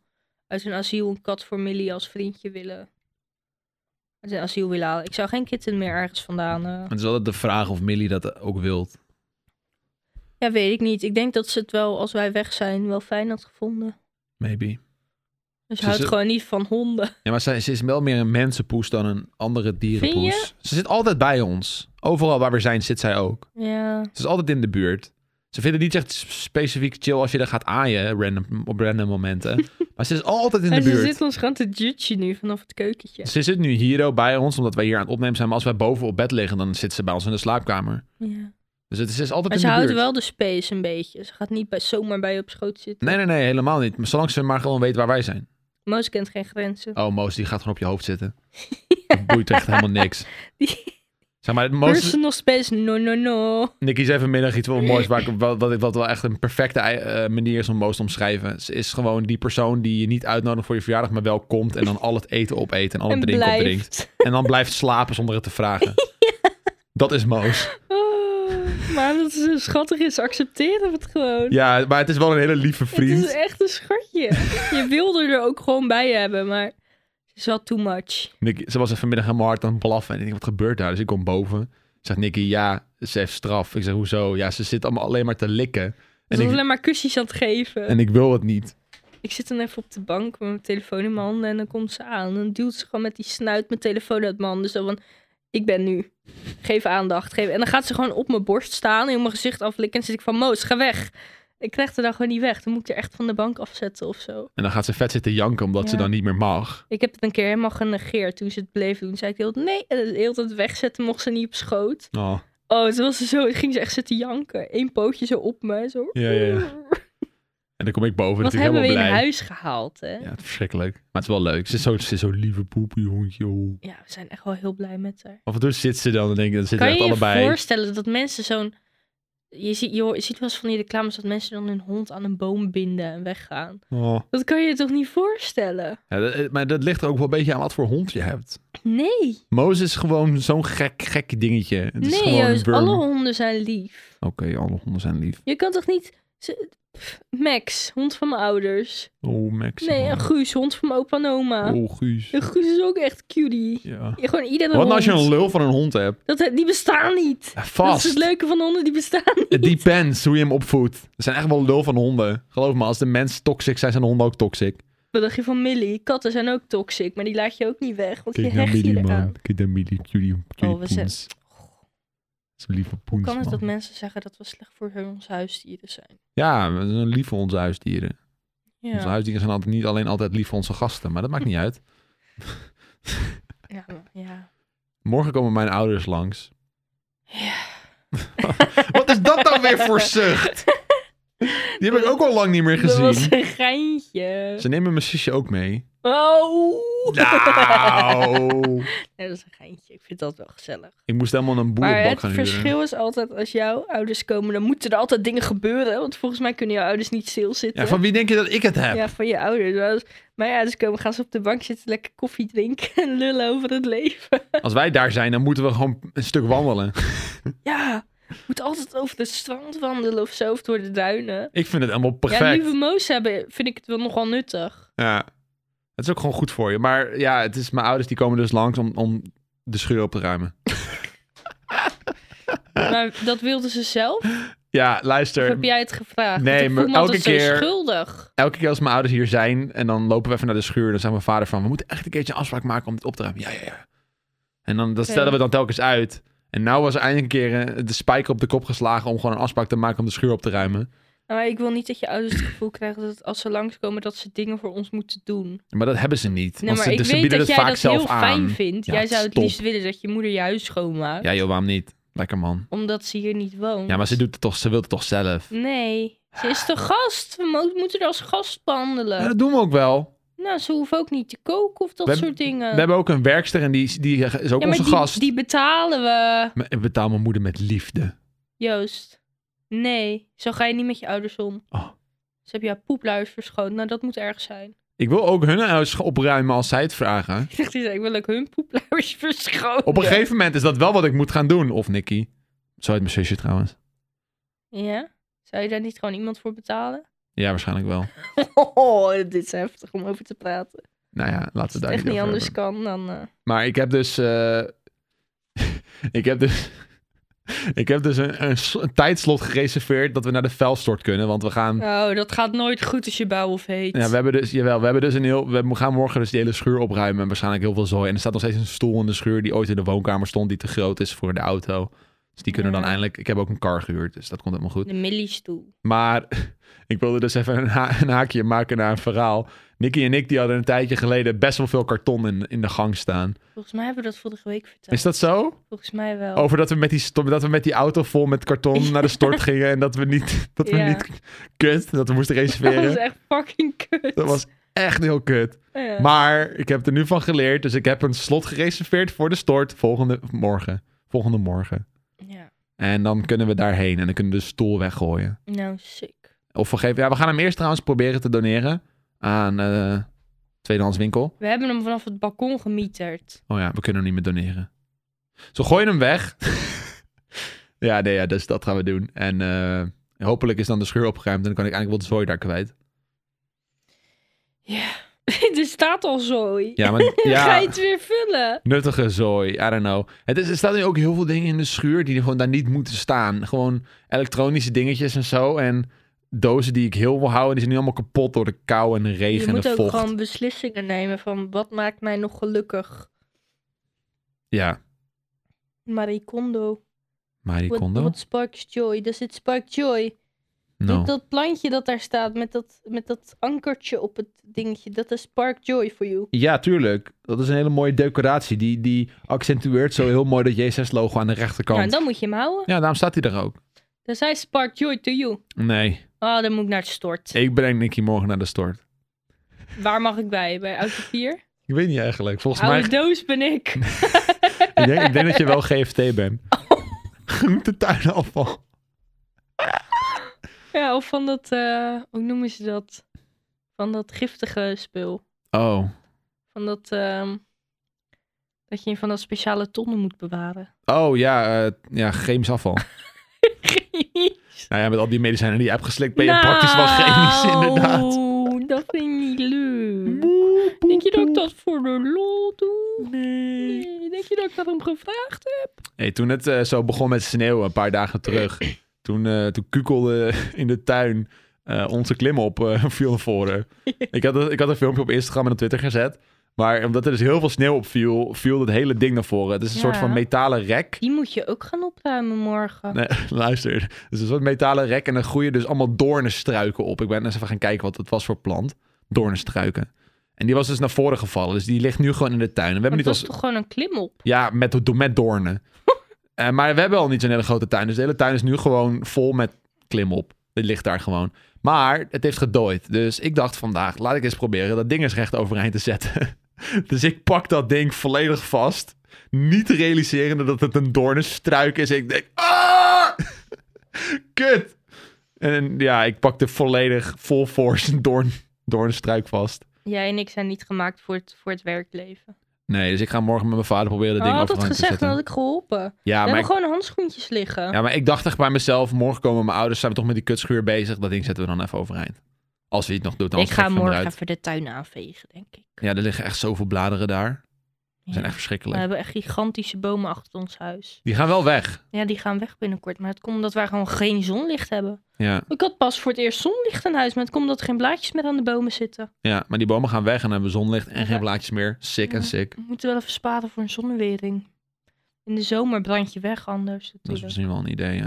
uit een asiel een kat voor Millie als vriendje willen. Uit een asiel willen halen. Ik zou geen kitten meer ergens vandaan. eh. Het is altijd de vraag of Millie dat ook wilt. Ja, weet ik niet. Ik denk dat ze het wel, als wij weg zijn, wel fijn had gevonden. Maybe. Dus Ze houdt is- gewoon niet van honden. Ja, maar ze, ze is wel meer een mensenpoes dan een andere Vind dierenpoes. Ze zit altijd bij ons. Overal waar we zijn zit zij ook. Ja. Ze is altijd in de buurt. Ze vinden het niet echt s- specifiek chill als je er gaat aaien random, op random momenten. maar ze is altijd in de en ze buurt. zit ons gewoon te jutsen nu vanaf het keukentje. Ze zit nu hier ook bij ons, omdat wij hier aan het opnemen zijn. Maar als wij boven op bed liggen, dan zit ze bij ons in de slaapkamer. Ja. Dus het is, ze is altijd Maar in ze de houdt buurt. wel de space een beetje. Ze gaat niet bij, zomaar bij je op schoot zitten. Nee, nee, nee, helemaal niet. Maar Zolang ze maar gewoon weet waar wij zijn. Moos kent geen grenzen. Oh, Moos, die gaat gewoon op je hoofd zitten. Dat boeit echt helemaal niks. Die- Zeg maar, Moos, Personal space, no, no, no. Nicky zei vanmiddag iets wel moois, waar ik, wat, wat, ik- wat wel echt een perfecte eh, manier is om Moos te omschrijven. Ze is gewoon die persoon die je niet uitnodigt voor je verjaardag, maar wel komt en dan al het eten opeet en al het en drinken blijft. opdrinkt. En dan blijft slapen zonder het te vragen. Dat is Moos. Oh, maar omdat ze zo schattig is, accepteren we het gewoon. Ja, maar het is wel een hele lieve Het is vriend. echt een schatje. je wilde er ook gewoon bij hebben, maar het is wel too much. Nicky, ze was er vanmiddag helemaal hard aan het blaffen. En ik denk, wat gebeurt daar? Dus ik kom boven. Zegt Nicky, ja, ze heeft straf. Ik zeg, hoezo? Ja, ze zit allemaal alleen maar te likken. Ze En was ik, alleen maar kusjes aan het geven. en ik wil het niet. Ik zit dan even op de bank met mijn telefoon in mijn handen en dan komt ze aan. En dan duwt ze gewoon met die snuit mijn telefoon uit mijn handen. Zo van, ik ben nu. Geef aandacht. Geef. En dan gaat ze gewoon op mijn borst staan en op mijn gezicht aflikken. En dan zit ik van, Moos, ga weg. Ik krijg er dan gewoon niet weg. Dan moet ik er echt van de bank afzetten of zo. En dan gaat ze vet zitten janken omdat ze Ja. dan niet meer mag. Ik heb het een keer helemaal genegeerd toen ze het bleef doen. Zei ik heel nee, en de hele tijd wegzetten mocht ze niet op schoot. Oh. Oh, toen was ze zo, ging ze echt zitten janken. Eén pootje zo op me, zo. Ja, ja, ja. En dan kom ik boven Wat natuurlijk helemaal hebben we in blij. huis gehaald, hè? Ja, het is verschrikkelijk. Maar het is wel leuk. Ze is zo, ze is zo lieve poepie hondje. joh. Ja, we zijn echt wel heel blij met haar. Af en toe zit ze dan en denk ik, dan zitten Kan we je echt je allebei. voorstellen dat mensen zo'n... Je ziet, je, hoort- je ziet wel eens van die reclames dat mensen dan hun hond aan een boom binden en weggaan. Oh. Dat kan je je toch niet voorstellen? Ja, dat- eh, maar dat ligt er ook wel een beetje aan wat voor hond je hebt. Nee. Moos is gewoon zo'n gek, gek dingetje. Het is nee, gewoon een Joost. worm. Alle honden zijn lief. Oké, alle honden zijn lief. Je kan toch niet... ze- Pff, Max, hond van mijn ouders. Oh, Max. Nee, en Guus, hond van mijn opa en oma. Oh, Guus. En Guus is ook echt cutie. Ja. Gewoon iedere Wat nou hond. als je een lul van een hond hebt? dat, eh, die bestaan niet. Ja, Dat is vast. het leuke van honden, die bestaan niet. Het depends hoe je hem opvoedt. Er zijn echt wel lul van honden. Geloof me, als de mensen toxic zijn, zijn de honden ook toxic. Wat dacht je van Millie? Katten zijn ook toxic, maar die laat je ook niet weg, want je hecht je eraan. Kijk naar Millie, jullie, Oh, we zijn- Zo'n lieve poens, Kan het man. dat mensen zeggen dat we slecht voor hun huisdieren zijn? Ja, we zijn lief voor onze huisdieren. Onze Ja, huisdieren zijn altijd, niet alleen altijd lief voor onze gasten, maar dat maakt niet uit. ja, maar- ja. Morgen komen mijn ouders langs. Ja. Wat is dat dan weer voor zucht? Die heb ik ook al lang niet meer Dat was gezien. een geintje. Ze nemen mijn zusje ook mee. Oh! Nou, Nee, dat is een geintje. Ik vind dat wel gezellig. ik moest helemaal een Maar boerenbak het gaan huren. verschil is altijd, als jouw ouders komen, dan moeten er altijd dingen gebeuren. Want volgens mij kunnen jouw ouders niet stilzitten. Ja, van wie denk je dat ik het heb? Ja, van je ouders. Maar als mijn ouders komen, gaan ze op de bank zitten, lekker koffie drinken en lullen over het leven. Als wij daar zijn, dan moeten we gewoon een stuk wandelen. Ja, moet altijd over het strand wandelen of zo, of door de duinen. Ik vind het helemaal Ja, perfect. lieve moos hebben, vind ik het wel nogal nuttig. Ja. Het is ook gewoon goed voor je. Maar ja, het is mijn ouders die komen dus langs om, om de scheur op te ruimen. Maar dat wilden ze zelf? Of Ja, luister. heb jij het gevraagd? Nee, Want ik voel maar me altijd elke keer- zo schuldig. Elke keer als mijn ouders hier zijn en dan lopen we even naar de schuur, dan zegt mijn vader van, we moeten echt een keertje een afspraak maken om het op te ruimen. Ja, ja, ja. En dan, dat stellen we dan telkens uit. En nou was er eindelijk een keer eh, de spijker op de kop geslagen om gewoon een afspraak te maken om de schuur op te ruimen. Nou, Maar ik wil niet dat je ouders het gevoel krijgen dat als ze langskomen, dat ze dingen voor ons moeten doen. Maar dat hebben ze niet. Nee, want maar ze, ik dus ze weet bieden dat het jij vaak dat zelf heel aan. fijn vindt. Ja, jij zou het stop. liefst willen dat je moeder je huis schoonmaakt. Ja joh, waarom niet? Lekker man. Omdat ze hier niet woont. Ja, maar ze, doet het toch, ze wil het toch zelf. Nee, ze is de gast. We mo- moeten haar als gast behandelen. Ja, dat doen we ook wel. Nou, ze hoeft ook niet te koken of dat We soort dingen. We hebben ook een werkster en die, die is Eh. ook ja, maar onze die, gast. die betalen we. Maar Ik betaal mijn moeder met liefde. Joost, nee, zo ga je niet met je ouders om. Oh. Ze hebben jouw poepluis verschoond. Nou, dat moet erg zijn. Ik wil ook hun huis opruimen als zij het vragen. Ik dacht, die zei, ik wil ook hun poepluis verschonen. Op een gegeven moment is dat wel wat ik moet gaan doen. Of Nicky. Zo heet mijn zusje trouwens. Ja? Zou je daar niet gewoon iemand voor betalen? Ja, waarschijnlijk wel. Oh, dit is heftig om over te praten. Nou ja, laten we Als daar het echt niet niet over anders hebben. kan dan. eh, Maar ik heb dus... eh, ik heb dus... ik heb dus een, een, s- een tijdslot gereserveerd dat we naar de vuilstort kunnen. Want we gaan... Oh, dat gaat nooit goed als je Bouwhof heet. Hm. Ja, we hebben dus, jawel, we hebben dus een heel, we gaan morgen dus die hele schuur opruimen en waarschijnlijk heel veel zooi. En er staat nog steeds een stoel in de schuur die ooit in de woonkamer stond, die te groot is voor de auto. Dus die kunnen Ja. dan eindelijk, ik heb ook een car gehuurd, dus dat komt helemaal goed. De Milliestoel. Maar ik wilde dus even een, ha- een haakje maken naar een verhaal. Nicky en ik die hadden een tijdje geleden best wel veel karton in, in de gang staan. Volgens mij hebben we dat vorige week verteld. Is dat zo? Volgens mij wel. Over dat we met die, sto- dat we met die auto vol met karton naar de stort gingen en dat we niet, dat we Ja. niet kut, dat we moesten dat was reserveren. echt fucking kut. Dat was echt heel kut. Ja. Maar ik heb er nu van geleerd, dus ik heb een slot gereserveerd voor de stort volgende morgen. Volgende morgen. Ja. En dan kunnen we daarheen en dan kunnen we de stoel weggooien. Nou, sick. Of we geven, ja, we gaan hem eerst trouwens proberen te doneren aan eh tweedehands winkel. We hebben hem vanaf het balkon gemieterd. Oh ja, we kunnen hem niet meer doneren. Zo gooien hem weg. ja, nee, ja, dus dat gaan we doen. En eh, hopelijk is dan de schuur opgeruimd en dan kan ik eigenlijk wel de zooi daar kwijt. er staat al zooi. Ja, maar Ga ja, je het weer vullen? Nuttige zooi, I don't know. Het is, er staan nu ook heel veel dingen in de schuur die gewoon daar niet moeten staan. Gewoon elektronische dingetjes en zo. En dozen die ik heel wil houden, die zijn nu allemaal kapot door de kou en de regen je en moet de ook vocht. gewoon beslissingen nemen van wat maakt mij nog gelukkig. Ja, Marie Kondo. Marie What- Kondo? What sparks joy? Does it spark joy? No. Dit, dat plantje dat daar staat met dat, met dat ankertje op het dingetje, dat is Spark Joy for you. Ja, tuurlijk. Dat is een hele mooie decoratie. Die, die accentueert zo heel mooi dat J6-logo aan de Nou, rechterkant. Ja, en dan moet je hem houden. daarom staat hij er ook. Dan zei Spark Joy to you. Nee, Oh, dan moet ik naar het stort. ik breng Nicky morgen naar de stort. Waar mag ik bij? Bij auto 4? Ik weet niet eigenlijk. Volgens mij... Oude doos ben ik. Ik denk, ik denk dat je wel GFT bent. Oh. de tuinafval. Ja, of van dat, eh, hoe noemen ze dat? Van dat giftige spul. Oh. Van dat, ehm, dat je van dat speciale tonnen moet bewaren. Oh ja, eh, ja chemisch afval. nou ja, met al die medicijnen die je hebt geslikt, ben je praktisch wel chemisch, inderdaad. Nou, dat vind ik niet leuk. Denk je dat ik dat voor de lol doe? Nee. Nee, denk je dat ik daarom gevraagd heb? Hey, toen het eh, zo begon met sneeuw een paar dagen terug, toen, eh toen kukelde in de tuin eh, onze klim op eh, viel naar voren. ik, had, een- ik had een filmpje op Instagram en op Twitter gezet. Maar omdat er dus heel veel sneeuw op viel, viel dat hele ding naar voren. Het is een Ja. soort van metalen rek. Die moet je ook gaan opruimen morgen. Nee, luister. Het is een soort metalen rek en er groeien dus allemaal doornenstruiken op. Ik ben eens even gaan kijken wat het was voor plant. Doornenstruiken. En die was dus naar voren gevallen. Dus die ligt nu gewoon in de tuin. En we hebben Maar niet dat is als... toch gewoon een klimop? Ja, met, do- met doornen. Eh, maar we hebben al niet zo'n hele grote tuin. Dus de hele tuin is nu gewoon vol met klimop. Dit ligt daar gewoon. Maar het heeft gedooid. Dus ik dacht vandaag, laat ik eens proberen dat ding eens recht overeind te zetten. dus ik pak dat ding volledig vast. Niet realiserende dat het een doornenstruik is. Ik denk, ah! Kut! En ja, ik pakte volledig full force een doorn, doornenstruik vast. Jij en ik zijn niet gemaakt voor het, voor het werkleven. Nee, dus ik ga morgen met mijn vader proberen dat Oh, ding had dat overeind te gezegd, zetten. dan had ik geholpen. Ja, we maar hebben ik- gewoon handschoentjes liggen. Ja, maar ik dacht echt bij mezelf, morgen komen mijn ouders, zijn we toch met die kutschuur bezig. Dat ding zetten we dan even overeind. Als we iets nog doet, dan ik ga morgen eruit. even de tuin aanvegen, denk ik. Ja, er liggen echt zoveel bladeren daar. Die zijn Ja. Eh, echt We verschrikkelijk. hebben echt gigantische bomen achter ons huis. Die gaan wel weg. Ja, die gaan weg binnenkort. Maar het komt omdat wij gewoon geen zonlicht hebben. Ja, Ik had pas voor het eerst zonlicht in huis, maar het komt omdat er geen blaadjes meer aan de bomen zitten. ja, maar die bomen gaan weg en dan hebben we zonlicht en geen Ja. blaadjes meer. Sick Ja. en sick. We moeten wel even sparen voor een zonnewering. In de zomer brand je weg anders Dat is natuurlijk. misschien wel een idee, ja.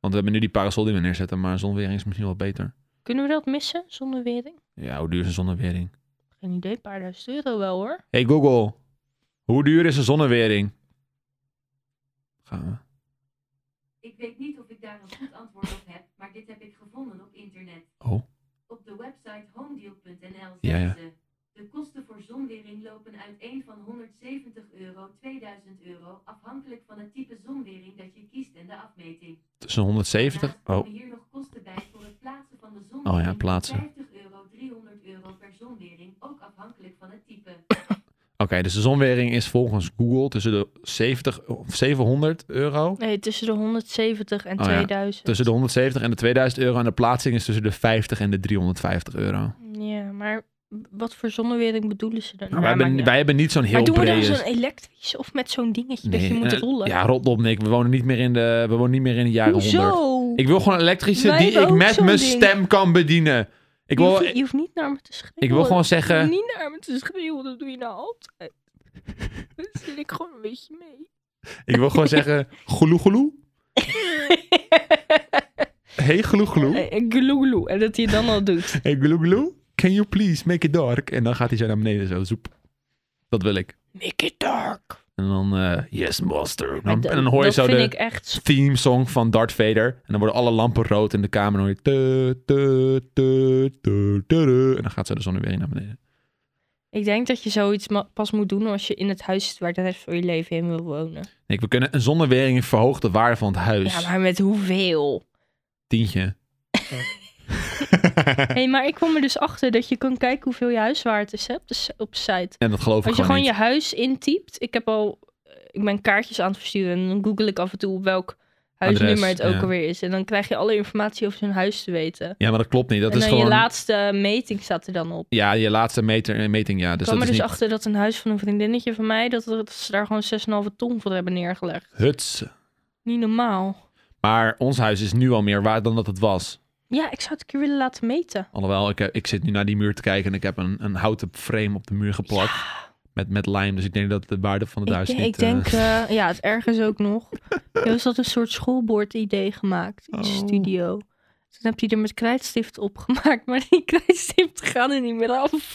Want we hebben nu die parasol die we neerzetten, maar zonwering is misschien wel beter. Kunnen we dat missen, zonnewering? Ja, hoe duur is een zonnewering? Geen idee, een paar duizend euro wel hoor. Hey Google, hoe duur is een zonnewering? Gaan we. Ik weet niet of ik daar een goed antwoord op heb, maar dit heb ik gevonden op internet. Oh. Op de website homedeal.nl zeggen Ja, ja. ze... De kosten voor zonwering lopen uiteen van 170 euro 2000 euro... afhankelijk van het type zonwering dat je kiest en de afmeting. Tussen 170? Daarnaast Oh, komen hier nog kosten bij voor het plaatsen van de Oh zonwering... ja, plaatsen. 50 euro 300 euro per zonwering, ook afhankelijk van het type. Oké, dus de zonwering is volgens Google tussen de 70, of 700 euro. Nee, tussen de 170 en Oh ja, 2000. Tussen de 170 en de 2000 euro. En de plaatsing is tussen de 50 en de 350 euro. Nou, Ja, maar wat voor zonnewering bedoelen ze dan? wij, Nou, maakt hebben, niet wij hebben niet zo'n Maar heel doen we dan brede... zo'n elektrisch of met zo'n dingetje dat je moet eh, rollen? Ja, rot op, Nick. We wonen niet meer in de, we wonen niet meer in de jaren 100. Hoezo? Ik wil gewoon een elektrische Wij die hebben ik ook met zo'n mijn ding. stem kan bedienen. Ik je, wil, hoeft, je hoeft niet naar me te schreeuwen. ik wil gewoon zeggen... Niet naar me te schreeuwen, dat doe je nou altijd. Dan zit ik gewoon een beetje mee. Ik wil gewoon zeggen... Gloe gloe. Hey gloe gloe. Eh, eh, Gloeloe. En dat hij het dan al doet. Hey gloe gloe. Can you please make it dark? En dan gaat hij zo naar beneden zo. Zoep. Dat wil ik. Make it dark. En dan, eh, yes master. Maar Dan, dat- en dan hoor je dat zo vind de ik echt... s- theme song van Darth Vader. En dan worden alle lampen rood in de kamer. En dan hoor je... tu, tu, tu, tu, tu, tu. En dan gaat zo de zon weer naar beneden. Ik denk dat je zoiets ma- pas moet doen als je in het huis zit waar de rest van je leven in wil wonen. Nee, we kunnen een zonnewering verhoogt de waarde van het huis. Ja, maar met hoeveel? Tientje. Hé, hey, maar ik kwam er dus achter dat je kan kijken hoeveel je huiswaard is hè, op de s- op de site. En dat geloof ik Als je gewoon gewoon niet. je huis intypt. Ik heb al. eh, Ik ben kaartjes aan het versturen. En dan google ik af en toe op welk huisnummer het ook ja. alweer is. En dan krijg je alle informatie over zo'n huis te weten. Ja, maar dat klopt niet. Dat en is dan gewoon... je laatste meting staat er dan op. Ja, je laatste meter, meting, ja. Ik Dus kwam dat er is dus niet... achter dat een huis van een vriendinnetje van mij. Dat, dat ze daar gewoon 6,5 ton voor hebben neergelegd. Huts. Niet normaal. Maar ons huis is nu al meer waard dan dat het was. Ja, ik zou het een keer willen laten meten. Alhoewel, ik, ik zit nu naar die muur te kijken en ik heb een, een houten frame op de muur geplakt. Met, met lijm, dus ik denk dat de waarde van het Ik, huis ik niet... eh, denk, eh, ja, het ergens ook nog. Er was dat een soort schoolbord-idee gemaakt in de Oh. studio. Toen heb je er met krijtstift op gemaakt, maar die krijtstift gaan er niet meer af.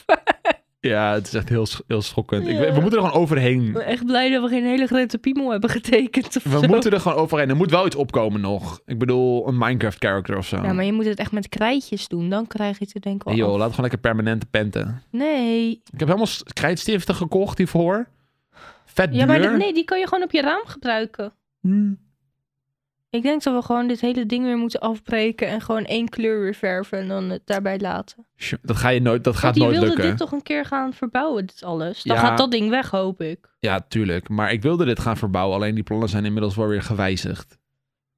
Ja, het is echt heel, sch- heel schokkend. Ik, Ja. weet- we moeten er gewoon overheen. Ik ben echt blij dat we geen hele grote piemel hebben getekend of We zo. moeten er gewoon overheen. Er moet wel iets opkomen nog. Ik bedoel, een Minecraft-character of zo. Ja, maar je moet het echt met krijtjes doen. Dan krijg je het er denk ik wel Hey, joh, af. laat gewoon lekker permanente penten. Nee. Ik heb helemaal s- krijtstiften gekocht hiervoor. Vet duur. Hmm. Ja, maar dat- nee, die kan je gewoon op je raam gebruiken. Ik denk dat we gewoon dit hele ding weer moeten afbreken en gewoon één kleur weer verven en dan het daarbij laten. Sjo, Dat, ga je nooit, dat gaat Want die nooit wilde lukken. dit toch een keer gaan verbouwen, dit alles. Dan Ja. gaat dat ding weg, hoop ik. Ja, tuurlijk. Maar ik wilde dit gaan verbouwen. Alleen die plannen zijn inmiddels wel weer gewijzigd.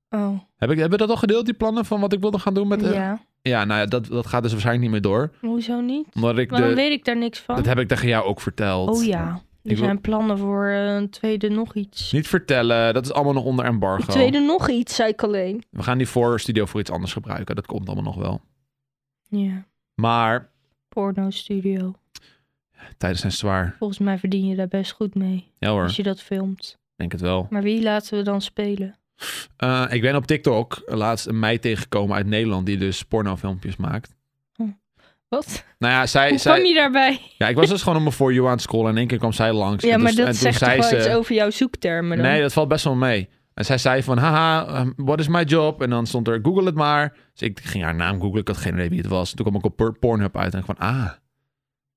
Oh, Heb ik, hebben we dat al gedeeld, die plannen van wat ik wilde gaan doen met... de- ja. ja nou ja, dat, dat gaat dus waarschijnlijk niet meer door. Hoezo niet? Omdat ik Maar dan de... weet ik daar niks van. Dat heb ik tegen jou ook verteld. Oh ja, er Ik wil- zijn plannen voor eh, een tweede nog iets. Niet vertellen, dat is allemaal nog onder embargo. Een tweede nog iets, zei ik alleen. We gaan die voor studio voor iets anders gebruiken. Dat komt allemaal nog wel. Ja. Maar Porno studio. tijden zijn zwaar. Volgens mij verdien je daar best goed mee. Ja hoor, Als je dat filmt. denk het wel. Maar wie laten we dan spelen? Eh, ik ben op TikTok laatst een meid tegengekomen uit Nederland die dus pornofilmpjes maakt. Wat? Nou ja, zij, Hoe zij, kwam je daarbij? ja, ik was dus gewoon om me voor you aan het scrollen en in één keer kwam zij langs. Ja, En maar dus- en dat toen zegt toch zei wel ze, iets over jouw zoektermen dan? Nee, dat valt best wel mee. En zij zei van, haha, um, what is my job? En dan stond er, google het maar. Dus ik ging haar naam googlen, ik had geen idee wie het was. Toen kwam ik op Por- Pornhub uit en ik van, ah,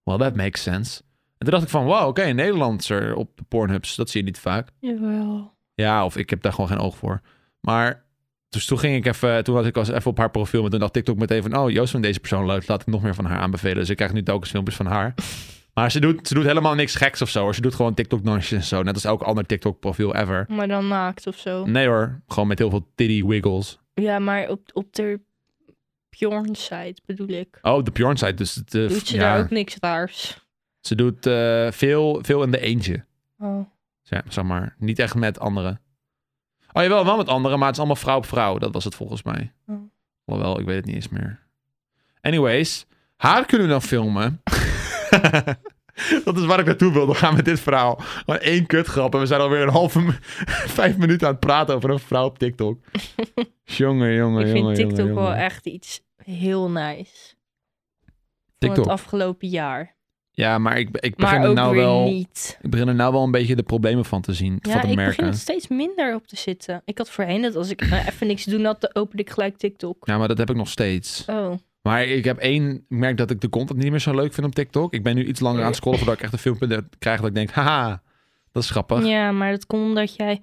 well, that makes sense. En toen dacht ik van, wow, oké, een Nederlandser op de Pornhubs, dat zie je niet vaak. Jawel. Ja, of ik heb daar gewoon geen oog voor. Maar dus toen ging ik even, toen had ik was even op haar profiel en toen dacht TikTok meteen van, oh, Joost van deze persoon leuk, laat ik nog meer van haar aanbevelen. Dus ik krijg nu telkens filmpjes van haar. Maar ze doet, ze doet helemaal niks geks of zo. hoor. Ze doet gewoon TikTok-dansjes en zo. Net als elk ander TikTok-profiel ever. Maar dan naakt of zo. Nee hoor, gewoon met heel veel titty wiggles. Ja, maar op, op de Bjorn site bedoel ik. Oh, de Bjorn site, dus het, eh, Doet ze ja. daar ook niks raars? Ze doet eh, veel, veel in de eentje, Oh. zeg zeg maar. Niet echt met anderen. Oh jawel, wel met anderen, maar het is allemaal vrouw op vrouw. Dat was het volgens mij. Oh. Alhoewel, ik weet het niet eens meer. Anyways, haar kunnen we dan filmen. Dat is waar ik naartoe wil. We gaan met dit verhaal. Gewoon één kutgrap. En we zijn alweer een halve, mi- vijf minuten aan het praten over een vrouw op TikTok. jongen, jongen, jongen. ik vind TikTok jongen, wel jongen. echt iets heel nice. Van TikTok. het afgelopen jaar. Ja, maar ik, ik begin Maar er ook nou weer wel. niet. Ik begin er nou wel een beetje de problemen van te zien. Ja, van te ik merken. begin er steeds minder op te zitten. Ik had voorheen dat als ik eh, even niks te doen had, dan opende ik gelijk TikTok. Ja, maar dat heb ik nog steeds. Oh, Maar ik heb één. Ik merk dat ik de content niet meer zo leuk vind op TikTok. Ik ben nu iets langer aan het scrollen voordat ik echt een filmpje er- krijg dat ik denk, haha, dat is grappig. ja, maar dat komt omdat jij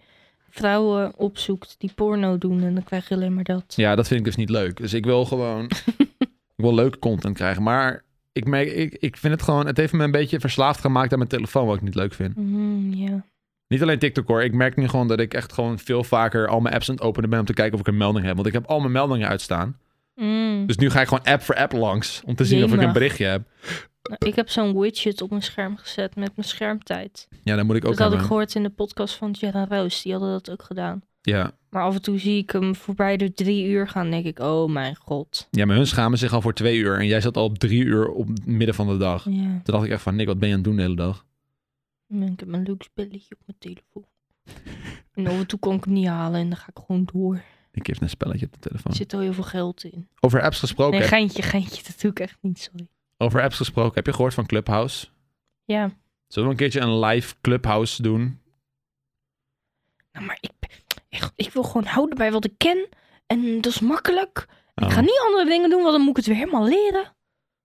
vrouwen opzoekt die porno doen en dan krijg je alleen maar dat. Ja, dat vind ik dus niet leuk. Dus ik wil gewoon. ik wil leuk content krijgen. Maar ik, merk, ik, ik vind het gewoon. Het heeft me een beetje verslaafd gemaakt aan mijn telefoon, wat ik niet leuk vind. Mm, ja. Niet alleen TikTok hoor. Ik merk nu gewoon dat ik echt gewoon veel vaker al mijn apps aan het openen ben om te kijken of ik een melding heb. Want ik heb al mijn meldingen uitstaan. Mm. Dus nu ga ik gewoon app voor app langs om te zien of ik een Jemig. berichtje heb. Nou, Ik heb zo'n widget op mijn scherm gezet met mijn schermtijd. Ja, dat moet ik ook dat had ik hebben. gehoord in de podcast van Jenna Roos. Die hadden dat ook gedaan. Ja. Maar af en toe zie ik hem voorbij de drie uur gaan. denk ik, oh mijn god. ja, maar hun schamen zich al voor twee uur. En jij zat al op drie uur op het midden van de dag. Ja, Toen dacht ik echt van, Nick, wat ben je aan het doen de hele dag? ik heb mijn luxe belletje op mijn telefoon. En af en toe kon ik hem niet halen en dan ga ik gewoon door. Ik geef een spelletje op de telefoon. Er zit al heel veel geld in. Over apps gesproken. Nee, heb- geintje, geintje. Dat doe ik echt niet, sorry. Over apps gesproken. Heb je gehoord van Clubhouse? Ja, Zullen we een keertje een live Clubhouse doen? nou, maar ik, ik, ik wil gewoon houden bij wat ik ken. En dat is makkelijk. Ik Oh. ga niet andere dingen doen, want dan moet ik het weer helemaal leren.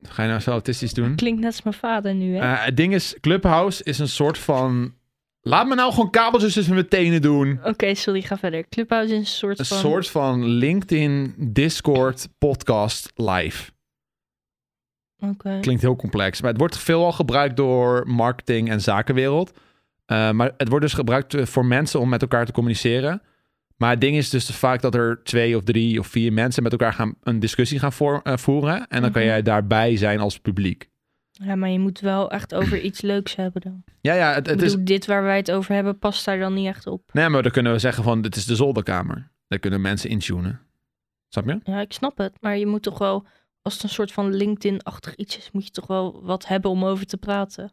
Ga je nou zo autistisch doen? Klinkt net als mijn vader nu, hè? Eh, het ding is, Clubhouse is een soort van... Laat me nou gewoon kabeltjes tussen mijn tenen doen. Oké, sorry, ga verder. Clubhouse is een soort Een van... soort van LinkedIn, Discord, podcast, live. Oké. Klinkt heel complex. Maar het wordt veelal gebruikt door marketing en zakenwereld. Eh, maar het wordt dus gebruikt eh, voor mensen om met elkaar te communiceren. Maar het ding is dus vaak dat er twee of drie of vier mensen met elkaar gaan, een discussie gaan voor- eh, voeren. En dan kan Mhm. jij daarbij zijn als publiek. Ja, maar je moet wel echt over iets leuks hebben dan. Ja, ja, het, ik het bedoel, is. dit waar wij het over hebben, past daar dan niet echt op. Nee, maar dan kunnen we zeggen van dit is de zolderkamer. Daar kunnen mensen intunen. Snap je? Ja, ik snap het. Maar je moet toch wel, als het een soort van LinkedIn-achtig iets is, moet je toch wel wat hebben om over te praten.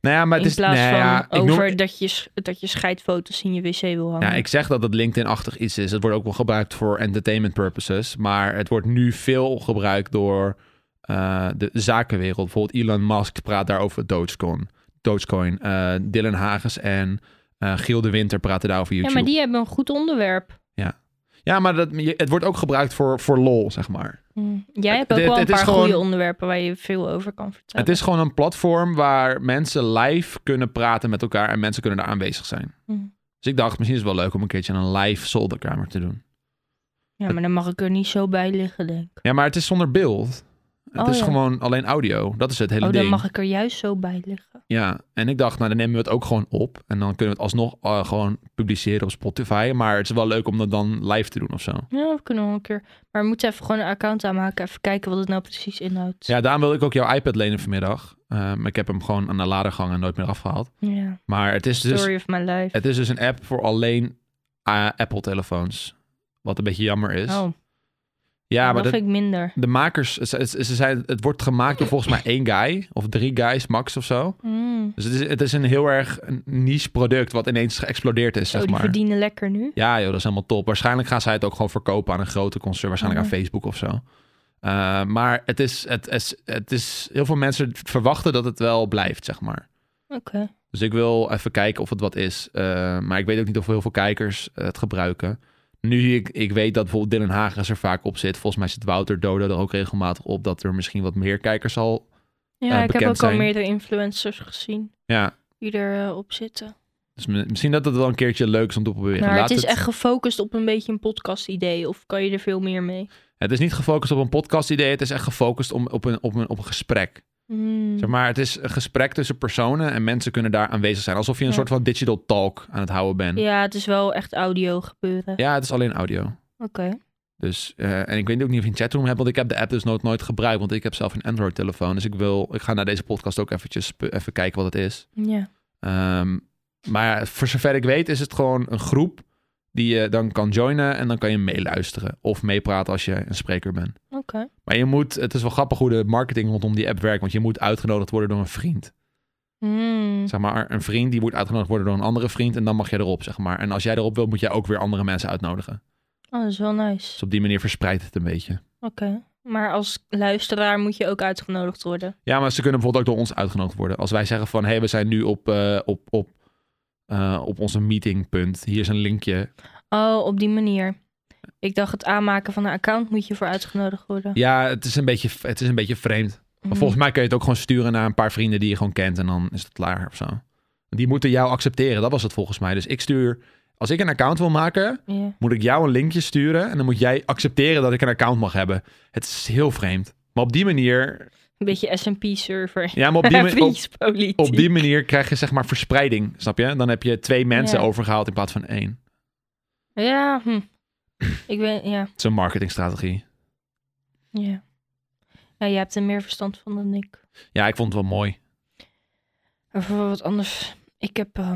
Nou ja, maar In het is. plaats nee, van ja, ik noem- over dat, je, sch- dat je scheidfoto's in je wc wil hangen. Ja, ik zeg dat het LinkedIn-achtig iets is. Het wordt ook wel gebruikt voor entertainment purposes. Maar het wordt nu veel gebruikt door eh, de zakenwereld. Bijvoorbeeld Elon Musk praat daar over Dogecoin. Dogecoin. Eh, Dylan Hagens en eh, Giel de Winter praten daar over Ja, YouTube. maar die hebben een goed onderwerp. Ja, maar dat, je- het wordt ook gebruikt voor, voor lol, zeg maar. Hm. Jij hebt ook Het- wel het een is paar goede gewoon- onderwerpen waar je veel over kan vertellen. Het is gewoon een platform waar mensen live kunnen praten met elkaar... en mensen kunnen daar aanwezig zijn. Hm. Dus ik dacht, misschien is het wel leuk om een keertje een live zolderkamer te doen. Ja, maar dan mag ik er niet zo bij liggen, denk ik. Ja, maar het is zonder beeld. Het Oh, is ja. gewoon alleen audio. Dat is het hele Oh, ding. dan mag ik er juist zo bij liggen. Ja, en ik dacht, nou dan nemen we het ook gewoon op. En dan kunnen we het alsnog eh, gewoon publiceren op Spotify. Maar het is wel leuk om dat dan live te doen of zo. Ja, we kunnen wel een keer. Maar we moeten even gewoon een account aanmaken. Even kijken wat het nou precies inhoudt. Ja, daarom wilde ik ook jouw iPad lenen vanmiddag. Ehm, ik heb hem gewoon aan de lader gehangen en nooit meer afgehaald. Ja. Maar het is dus, Story of my life. het is dus een eh, app voor alleen Apple-telefoons. Wat een beetje jammer is. Oh. Ja, maar dat dat, vind ik minder. de makers, ze, ze ze zeiden, het wordt gemaakt door volgens mij één guy of drie guys max of zo. Mm. Dus het is, het is een heel erg een niche product wat ineens geëxplodeerd is, Zo, zeg Oh, die maar. verdienen lekker nu. Ja, joh, dat is helemaal top. Waarschijnlijk gaan zij het ook gewoon verkopen aan een grote concern. Waarschijnlijk Ja. aan Facebook of zo. Eh, maar het is, het, is, het is... Heel veel mensen verwachten dat het wel blijft, zeg maar. Oké. Dus ik wil even kijken of het wat is. Eh, maar ik weet ook niet of heel veel kijkers eh, het gebruiken. Nu ik, ik weet dat bijvoorbeeld Dylan Hagens er vaak op zit. Volgens mij zit Wouter Dodo er ook regelmatig op... dat er misschien wat meer kijkers zal... Ja, Eh, ik heb bekend ook al zijn. meerdere influencers gezien Ja, die erop op zitten. dus mi- misschien dat het wel een keertje leuk is om te proberen. Maar Laat het is echt gefocust op een beetje een podcast-idee. Of kan je er veel meer mee? het is niet gefocust op een podcast-idee. Het is echt gefocust om, op, een, op, een, op een gesprek. Mm. Zeg maar, het is een gesprek tussen personen en mensen kunnen daar aanwezig zijn. Alsof je een Ja. soort van digital talk aan het houden bent. Ja, Ja, het is wel echt audio gebeuren. het is alleen audio. Oké. Dus, eh, en ik weet ook niet of je een chatroom hebt, want ik heb de app dus nooit, nooit gebruikt. Want ik heb zelf een Android-telefoon. Dus ik wil, ik ga naar deze podcast ook eventjes sp- even kijken wat het is. Ja. Ehm, maar voor zover ik weet is het gewoon een groep die je dan kan joinen en dan kan je meeluisteren. Of meepraten als je een spreker bent. Oké. Maar je moet, het is wel grappig hoe de marketing rondom die app werkt. Want je moet uitgenodigd worden door een vriend. Mm. Zeg maar, een vriend die wordt uitgenodigd worden door een andere vriend en dan mag jij erop, zeg maar. En als jij erop wilt, moet jij ook weer andere mensen uitnodigen. Oh, dat is wel nice. Dus op die manier verspreidt het een beetje. Oké. Maar als luisteraar moet je ook uitgenodigd worden. Ja, maar ze kunnen bijvoorbeeld ook door ons uitgenodigd worden. Als wij zeggen van, hé, hey, we zijn nu op, eh, op, op, eh, op onze meetingpunt. Hier is een linkje. Oh, op die manier. Ik dacht, het aanmaken van een account moet je voor uitgenodigd worden. Ja, het is een beetje, het is een beetje vreemd. Maar Mm. volgens mij kun je het ook gewoon sturen naar een paar vrienden die je gewoon kent. En dan is het klaar of zo. Die moeten jou accepteren. Dat was het volgens mij. Dus ik stuur, als ik een account wil maken, Mm, Ja. moet ik jou een linkje sturen en dan moet jij accepteren dat ik een account mag hebben. Het is heel vreemd. Maar op die manier, Een beetje S&P-server. ja, maar op die, ma- op, Vriespolitiek. op die manier krijg je zeg maar verspreiding, snap je? Dan heb je twee mensen Ja. overgehaald in plaats van één. Ja, hm. ik weet, ja, Het is een marketingstrategie. ja. Ja, jij hebt er meer verstand van dan ik. Ja, ik vond het wel mooi. Even wat anders. Ik heb eh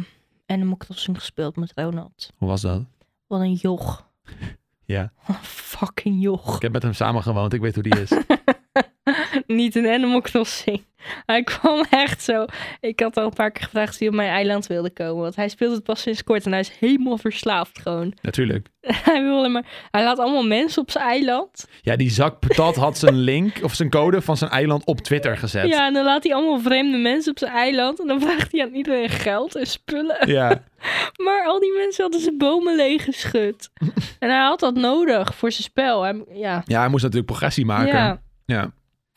Animal Crossing gespeeld met Ronald. Hoe was dat? Wat een joch. Ja. Fucking joch. Ik heb met hem samen gewoond, ik weet hoe die is. Niet een Animal Crossing. Hij kwam echt zo. Ik had al een paar keer gevraagd of hij op mijn eiland wilde komen. Want hij speelt het pas sinds kort en hij is helemaal verslaafd gewoon. Natuurlijk. Hij wilde maar... Hij laat allemaal mensen op zijn eiland. Ja, die zak patat had zijn link of zijn code van zijn eiland op Twitter gezet. Ja, en dan laat hij allemaal vreemde mensen op zijn eiland. En dan vraagt hij aan iedereen geld en spullen. Ja. Maar al die mensen hadden zijn bomen leeggeschud. en hij had dat nodig voor zijn spel. Hij- ja. Ja, hij moest natuurlijk progressie maken. ja. Ja.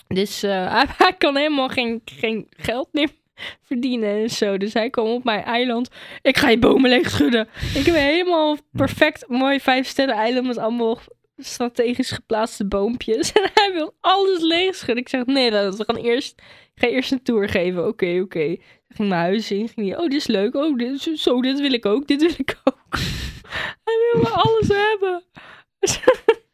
Dus eh, hij, hij kan helemaal geen, geen geld meer verdienen en zo. Dus hij kwam op mijn eiland. Ik ga je bomen leegschudden. Ik heb helemaal perfect mooi vijf sterren eiland met allemaal strategisch geplaatste boompjes. En hij wil alles leegschudden. Ik zeg, nee, dat we gaan eerst, ik ga eerst een tour geven. Oké, oké. Ik ging mijn huis in. Ging hij, oh, dit is leuk. Oh, dit, is- zo, dit wil ik ook. Dit wil ik ook. hij wil maar alles hebben.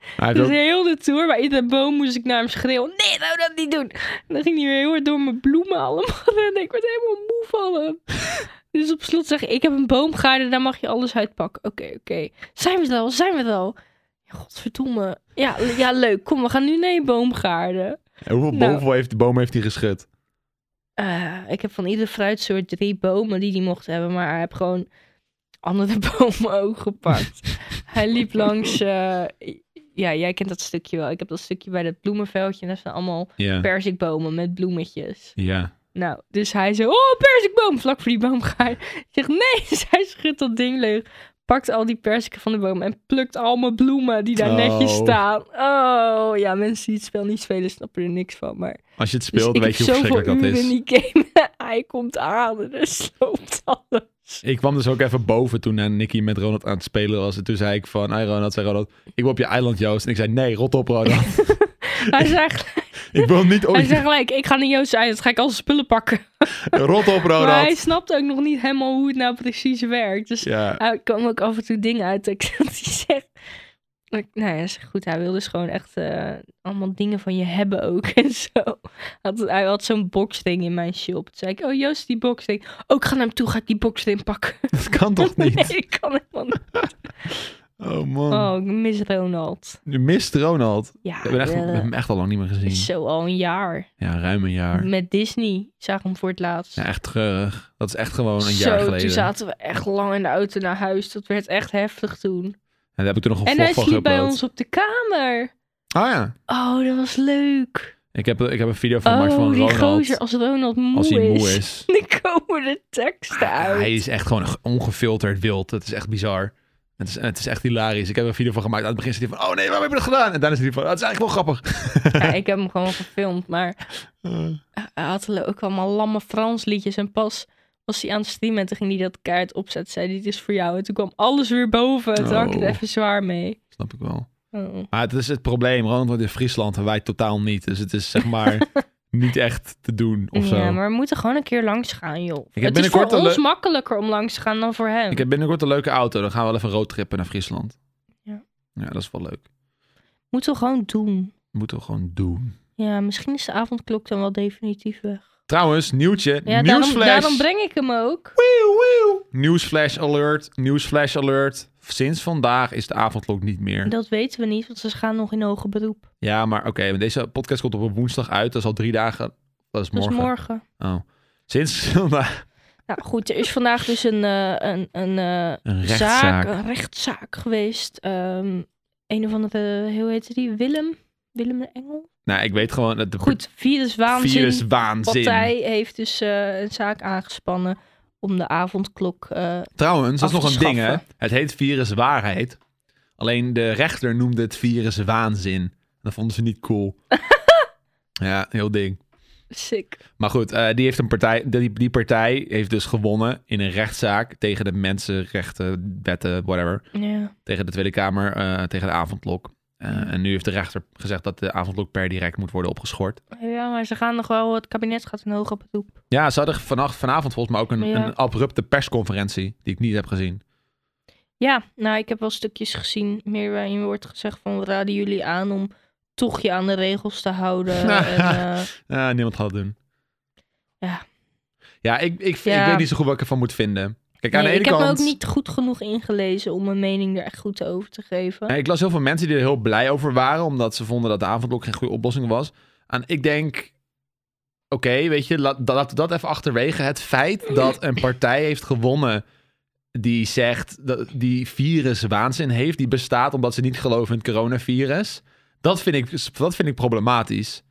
Hij heeft Dus ook- heel de tour, bij iedere boom moest ik naar hem schreeuwen. Nee, nou dat niet doen. En dan ging hij weer heel hard door mijn bloemen allemaal rennen. Ik werd helemaal moe van hem. dus op slot zeg ik, ik heb een boomgaarden, daar mag je alles uitpakken. Oké, oké. Zijn we het al? Zijn we het al? Ja, Godverdomme. Ja, l- ja, leuk. Kom, we gaan nu naar je boomgaarden. Hoeveel Nou. boven heeft, bomen heeft hij geschud? Eh, ik heb van iedere fruitsoort drie bomen die hij mocht hebben. Maar hij heeft gewoon andere bomen ook gepakt. hij liep langs... eh, ja, jij kent dat stukje wel. Ik heb dat stukje bij dat bloemenveldje. En daar zijn allemaal Ja. perzikbomen met bloemetjes. Ja. Nou, dus hij zo, oh, perzikboom, vlak voor die boom ga je. Ik zeg, nee, dus hij schudt dat ding leeg. Pakt al die perziken van de boom en plukt al mijn bloemen die daar Oh. netjes staan. Oh, ja, mensen die het spel niet spelen snappen er niks van. Maar Als je het dus speelt, ik weet je heb hoe zoveel verschrikkelijk dat uren is. in die game. hij komt aan en er sloopt alles. Ik kwam dus ook even boven toen eh, Nicky met Ronald aan het spelen was. En toen zei ik van, hey Ronald, zei Ronald, ik wil op je eiland, Joost. En ik zei, nee, rot op, Ronald. Hij zegt, ik wil niet op hij je... zegt gelijk, ik ga naar Joost uit, dan ga ik al zijn spullen pakken. Oh, Rot op, Maar hij Ronald. snapt ook nog niet helemaal hoe het nou precies werkt. Dus Ja, Hij kwam ook af en toe dingen uit dat ik- dat hij zegt. dat ik- Nou ja, is goed. Hij wil dus gewoon echt eh, allemaal dingen van je hebben ook en zo. Had, hij had zo'n boxding in mijn shop. Toen zei ik, oh Joost, die boxding. Oh, ik ga naar hem toe, ga ik die boxding pakken. dat kan toch niet? nee, ik kan helemaal niet. Oh man. Oh, ik mis Ronald. Je mist Ronald. Ja, We hebben, echt, we hebben eh, hem echt al lang niet meer gezien. zo al een jaar. Ja, ruim een jaar. Met Disney. Ik zag hem voor het laatst. Ja, echt treurig. Dat is echt gewoon een zo, jaar geleden. toen zaten we echt lang in de auto naar huis. Dat werd echt heftig toen. En daar heb ik toen nog een En hij vlog van sliep bij geüpload. ons op de kamer. Ah ja. Oh, dat was leuk. Ik heb, ik heb een video van Max oh, van die Ronald. gozer als Ronald moe als hij moe is. is. Dan komen de teksten uit. Hij is echt gewoon ongefilterd wild. Het is echt bizar. Het is, het is echt hilarisch. Ik heb er een video van gemaakt. Aan het begin zit hij van, oh nee, waarom heb je dat gedaan? En daarna zit hij van, dat is eigenlijk wel grappig. Ja, ik heb hem gewoon gefilmd, maar hij had ook allemaal lamme Frans liedjes. En pas was hij aan het streamen en toen ging hij dat kaart opzetten. Zei hij, dit is voor jou. En toen kwam alles weer boven. Toen had ik het Oh. even zwaar mee. Snap ik wel. Oh. Maar het is het probleem. Ronald wordt in Friesland en wij totaal niet. Dus het is zeg maar niet echt te doen of zo. Ja, maar we moeten gewoon een keer langs gaan, joh. heb het is binnenkort voor een ons le- makkelijker om langs te gaan dan voor hem. Ik heb binnenkort een leuke auto. Dan gaan we wel even roadtrippen naar Friesland. Ja. Ja, dat is wel leuk. Moeten we gewoon doen. Moeten we gewoon doen. Ja, misschien is de avondklok dan wel definitief weg. Trouwens, nieuwtje. Ja, daarom, nieuwsflash. daarom breng ik hem ook. Wieuw, wieuw. Nieuwsflash alert. Nieuwsflash alert. Sinds vandaag is de avondklok niet meer. Dat weten we niet, want ze gaan nog in hoger beroep. Ja, maar oké. maar deze podcast komt op een woensdag uit. Dat is al drie dagen. Dat is Dat is morgen. morgen. Oh. Sinds vandaag. Nou goed, er is vandaag dus een, eh, een, een, eh, zaak, Een rechtszaak. een rechtszaak geweest. Ehm, een of andere, hoe heette die? Willem? Willem de Engel? Nou, ik weet gewoon dat de Goed, viruswaanzin. viruswaanzin. partij heeft dus eh, een zaak aangespannen om de avondklok... eh, Trouwens, dat is af nog te een ding hè. schaffen. Het heet viruswaarheid. Alleen de rechter noemde het viruswaanzin. Dat vonden ze niet cool. ja, heel ding. sick. Maar goed, eh, die, heeft een partij, die, die partij heeft dus gewonnen in een rechtszaak tegen de mensenrechten, wetten, whatever. Ja. Tegen de Tweede Kamer, eh, tegen de avondklok. Eh, en nu heeft de rechter gezegd dat de avondklok per direct moet worden opgeschort. ja, maar ze gaan nog wel... Het kabinet gaat in hoger beroep. Ja, ze hadden vannacht, vanavond volgens mij ook een, Ja. een abrupte persconferentie, die ik niet heb gezien. Ja, nou, ik heb wel stukjes gezien. Meer waarin wordt gezegd van... We raden jullie aan om toch je aan de regels te houden. en, eh, Eh, niemand had het doen. Ja. Ja, ik, ik, Ja. ik weet niet zo goed wat ik ervan moet vinden. Kijk, aan Nee, de ene ik heb kant... me ook niet goed genoeg ingelezen om mijn mening er echt goed over te geven. Ja, ik las heel veel mensen die er heel blij over waren, omdat ze vonden dat de avondklok geen goede oplossing was. En ik denk, oké, weet je, laat- da- laten we dat even achterwege. Het feit dat een partij heeft gewonnen die zegt dat die viruswaanzin heeft, die bestaat omdat ze niet geloven in het coronavirus. Dat vind ik, dat vind ik problematisch.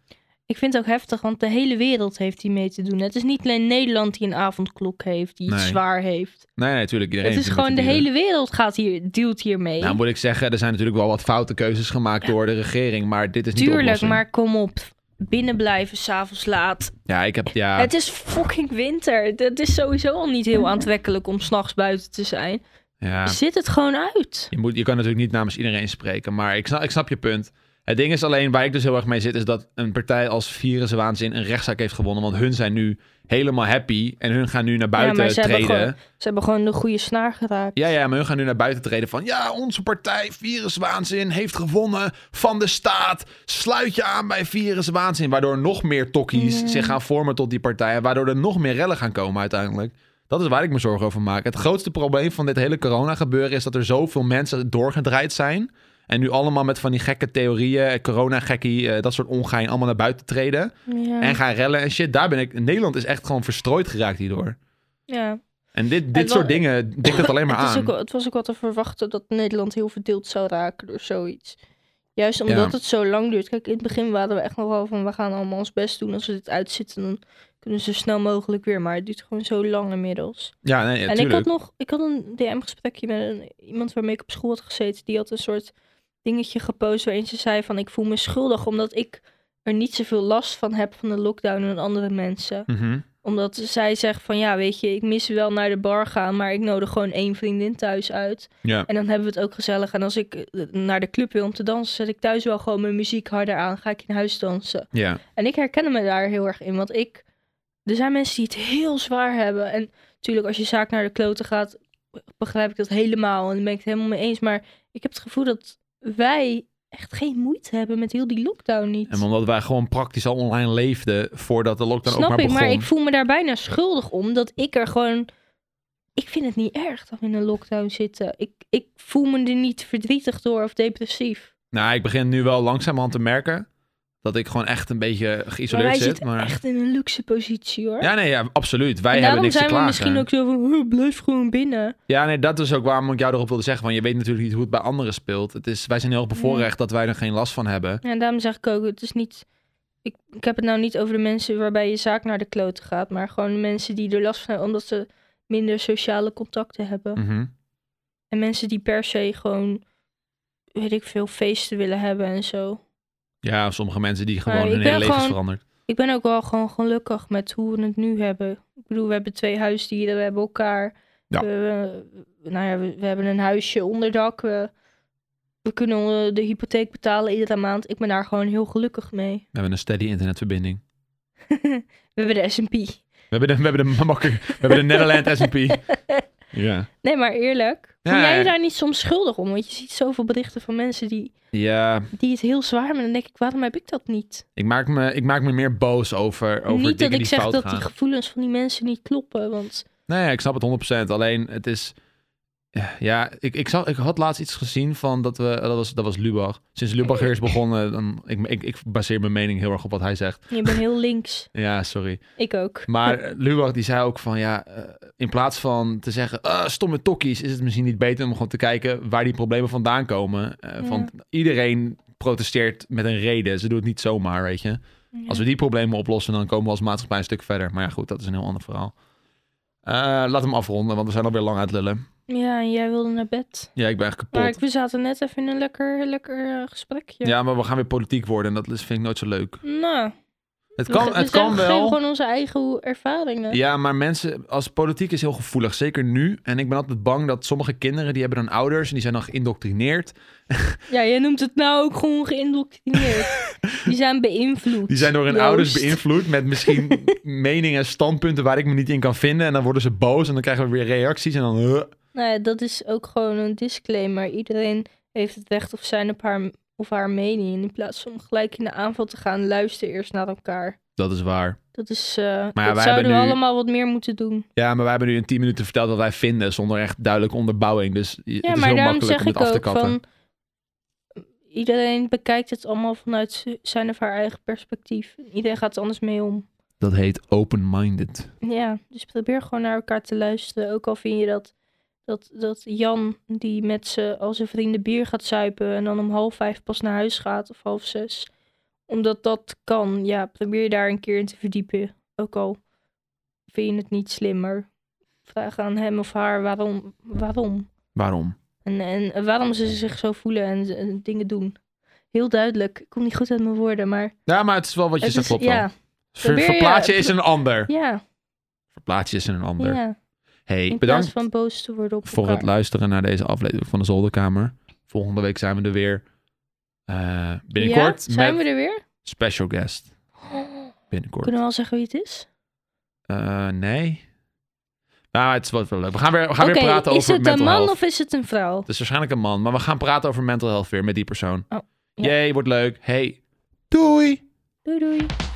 Ik vind het ook heftig, want de hele wereld heeft hier mee te doen. Het is niet alleen Nederland die een avondklok heeft, die het Nee. zwaar heeft. Nee, nee, natuurlijk. iedereen het is vindt met gewoon de dieren. hele wereld gaat hier, dealt hiermee. Nou, moet ik zeggen, er zijn natuurlijk wel wat foute keuzes gemaakt door de regering, maar dit is niet de Tuurlijk, oplossing. maar kom op. Binnen blijven, s'avonds laat. Ja, ik heb, ja. Het is fucking winter. Het is sowieso al niet heel aantrekkelijk om s'nachts buiten te zijn. ja. Zit het gewoon uit. Je, moet, je kan natuurlijk niet namens iedereen spreken, maar ik snap, ik snap je punt. Het ding is alleen, waar ik dus heel erg mee zit, is dat een partij als Viruswaanzin een rechtszaak heeft gewonnen. Want hun zijn nu helemaal happy en hun gaan nu naar buiten maar ze hebben treden. gewoon- Ze hebben gewoon de goede snaar geraakt. Ja, ja, maar hun gaan nu naar buiten treden van... Ja, onze partij Viruswaanzin heeft gewonnen van de staat. Sluit je aan bij Viruswaanzin. Waardoor nog meer tokkies zich gaan vormen tot die partij. En waardoor er nog meer rellen gaan komen uiteindelijk. Dat is waar ik me zorgen over maak. Het grootste probleem van dit hele corona gebeuren... is dat er zoveel mensen doorgedraaid zijn... En nu allemaal met van die gekke theorieën, corona-gekkie, eh, dat soort ongein, allemaal naar buiten treden. Ja. En gaan rellen en shit. Daar ben ik. Nederland is echt gewoon verstrooid geraakt hierdoor. ja. En dit, dit En wel- soort dingen dikt het alleen maar Het, aan. is ook, wel- het was ook wel te verwachten dat Nederland heel verdeeld zou raken door zoiets. Juist omdat Ja. het zo lang duurt. Kijk, in het begin waren we echt nog wel van... we gaan allemaal ons best doen. Als we dit uitzitten, dan kunnen ze zo snel mogelijk weer. Maar het duurt gewoon zo lang inmiddels. Ja, nee, en ik natuurlijk. had nog ik had een DM-gesprekje met een, iemand waarmee ik op school had gezeten. Die had een soort dingetje gepost waarin ze zei van... ik voel me schuldig omdat ik er niet zoveel last van heb van de lockdown en andere mensen Mhm. omdat zij zegt van ja, weet je, ik mis wel naar de bar gaan, maar ik nodig gewoon één vriendin thuis uit. Ja. En dan hebben we het ook gezellig. En als ik eh, naar de club wil om te dansen, zet ik thuis wel gewoon mijn muziek harder aan. Ga ik in huis dansen. ja. En ik herken me daar heel erg in, want ik. Er zijn mensen die het heel zwaar hebben. En natuurlijk, als je zaak naar de kloten gaat, begrijp ik dat helemaal. En daar ben ik het helemaal mee eens. Maar ik heb het gevoel dat wij echt geen moeite hebben met heel die lockdown niet. En omdat wij gewoon praktisch al online leefden voordat de lockdown Snap ook maar ik, begon. maar ik voel me daar bijna schuldig om dat ik er gewoon ik vind het niet erg dat we in een lockdown zitten. Ik, ik voel me er niet verdrietig door of depressief. Nou, ik begin nu wel langzamerhand te merken dat ik gewoon echt een beetje Maar geïsoleerd wij zit. zitten Maar... echt in een luxe positie hoor. Ja, nee, ja, absoluut. Wij en hebben daarom niks te zijn we klagen. misschien ook zo van, "Oh, blijf gewoon binnen. Ja, nee, dat is ook waarom ik jou erop wilde zeggen. Want je weet natuurlijk niet hoe het bij anderen speelt. Het is, wij zijn heel erg bevoorrecht dat wij er geen last van hebben. Ja, en daarom zeg ik ook, het is niet... Ik, ik heb het nou niet over de mensen waarbij je zaak naar de kloten gaat. Maar gewoon de mensen die er last van hebben omdat ze minder sociale contacten hebben. Mhm. En mensen die per se gewoon, weet ik veel, feesten willen hebben en zo. Ja, sommige mensen die gewoon Maar ik hun ben hele leven is gewoon- veranderd. Ik ben ook wel gewoon gelukkig met hoe we het nu hebben. Ik bedoel, we hebben twee huisdieren, we hebben elkaar. Ja. We, we- nou ja, we, we hebben een huisje onderdak. We, we kunnen eh, de hypotheek betalen iedere maand. Ik ben daar gewoon heel gelukkig mee. We hebben een steady internetverbinding. We hebben de S&P. We hebben de, we hebben de, makker, we hebben de Netherlands S&P. Ja. Nee, maar eerlijk. Ja, voel jij ja. je daar niet soms schuldig om? Want je ziet zoveel berichten van mensen die, Ja, die het heel zwaar hebben. En dan denk ik, waarom heb ik dat niet? ik maak me, ik maak me meer boos over, over dingen niet dat ik die zeg fout dat gaan. die gevoelens van die mensen niet kloppen. Want Nee, ik snap het 100%. Alleen het is. eh, Ja, ik, ik, zag, ik had laatst iets gezien van dat we. Dat was, dat was Lubach. Sinds Lubach hier is begonnen. Dan, ik, ik, ik baseer mijn mening heel erg op wat hij zegt. je bent heel links. Ja, sorry. Ik ook. Maar eh, Lubach die zei ook van ja. eh, In plaats van te zeggen. "Ah, stomme tokkies. Is het misschien niet beter om gewoon te kijken waar die problemen vandaan komen. Eh, Ja. Want iedereen protesteert met een reden. Ze doen het niet zomaar, weet je. Ja. Als we die problemen oplossen, dan komen we als maatschappij een stuk verder. Maar ja, goed, dat is een heel ander verhaal. Eh, laat hem afronden, want we zijn alweer lang aan het lullen. Ja, en jij wilde naar bed. Ja, ik ben echt kapot. Maar ik, we zaten net even in een lekker, lekker eh, gesprekje. Ja, maar we gaan weer politiek worden en dat is- vind ik nooit zo leuk. Nou, Het we kan, ge- we het zeggen- kan we geven wel. gewoon onze eigen hoe- ervaringen. Ja, maar mensen, als politiek is heel gevoelig, zeker nu. En ik ben altijd bang dat sommige kinderen, die hebben dan ouders en die zijn dan geïndoctrineerd. Ja, jij noemt het nou ook gewoon geïndoctrineerd. die zijn beïnvloed. Die zijn door hun Joost. ouders beïnvloed met misschien meningen en standpunten waar ik me niet in kan vinden. En dan worden ze boos en dan krijgen we weer reacties en dan... eh. Nou ja, dat is ook gewoon een disclaimer. Iedereen heeft het recht op zijn op haar, of haar mening. En in plaats van gelijk in de aanval te gaan, luister eerst naar elkaar. Dat is waar. Dat is. eh wij dat hebben zouden we nu- allemaal wat meer moeten doen. Ja, maar wij hebben nu in 10 minuten verteld wat wij vinden zonder echt duidelijke onderbouwing. Dus je- Ja, het is maar heel daarom zeg makkelijk om het ik af te ook katten. van. Iedereen bekijkt het allemaal vanuit z- zijn of haar eigen perspectief. Iedereen gaat er anders mee om. Dat heet open-minded. Ja, dus probeer gewoon naar elkaar te luisteren. Ook al vind je dat, dat, dat Jan, die met zijn al zijn vrienden bier gaat zuipen en dan om half vijf pas naar huis gaat of half zes. Omdat dat kan, ja, probeer je daar een keer in te verdiepen. Ook al vind je het niet slimmer. Vraag aan hem of haar waarom. waarom. Waarom? En, en waarom ze zich zo voelen en, ze- en dingen doen. Heel duidelijk. Ik kom niet goed uit mijn woorden, maar... Ja, maar het is wel wat je het zegt, is- klopt wel. Dus ja, Ver- Probeer je- verplaats je is een ander. ja, Verplaats je is een ander. ja. Hey, In bedankt plaats van boos te worden op voor het elkaar. luisteren naar deze aflevering van de Zolderkamer. Volgende week zijn we er weer. eh, binnenkort Ja, zijn met we er weer? special guest. Oh, Binnenkort. kunnen we al zeggen wie het is? Eh, nee. Nou, het wordt wel leuk. We gaan weer, we gaan Oké, weer praten is over het een mental man health. of is het een vrouw? Het is waarschijnlijk een man, maar we gaan praten over mental health weer met die persoon. Oh, ja. Jee, wordt leuk. Hey, doei! Doei doei.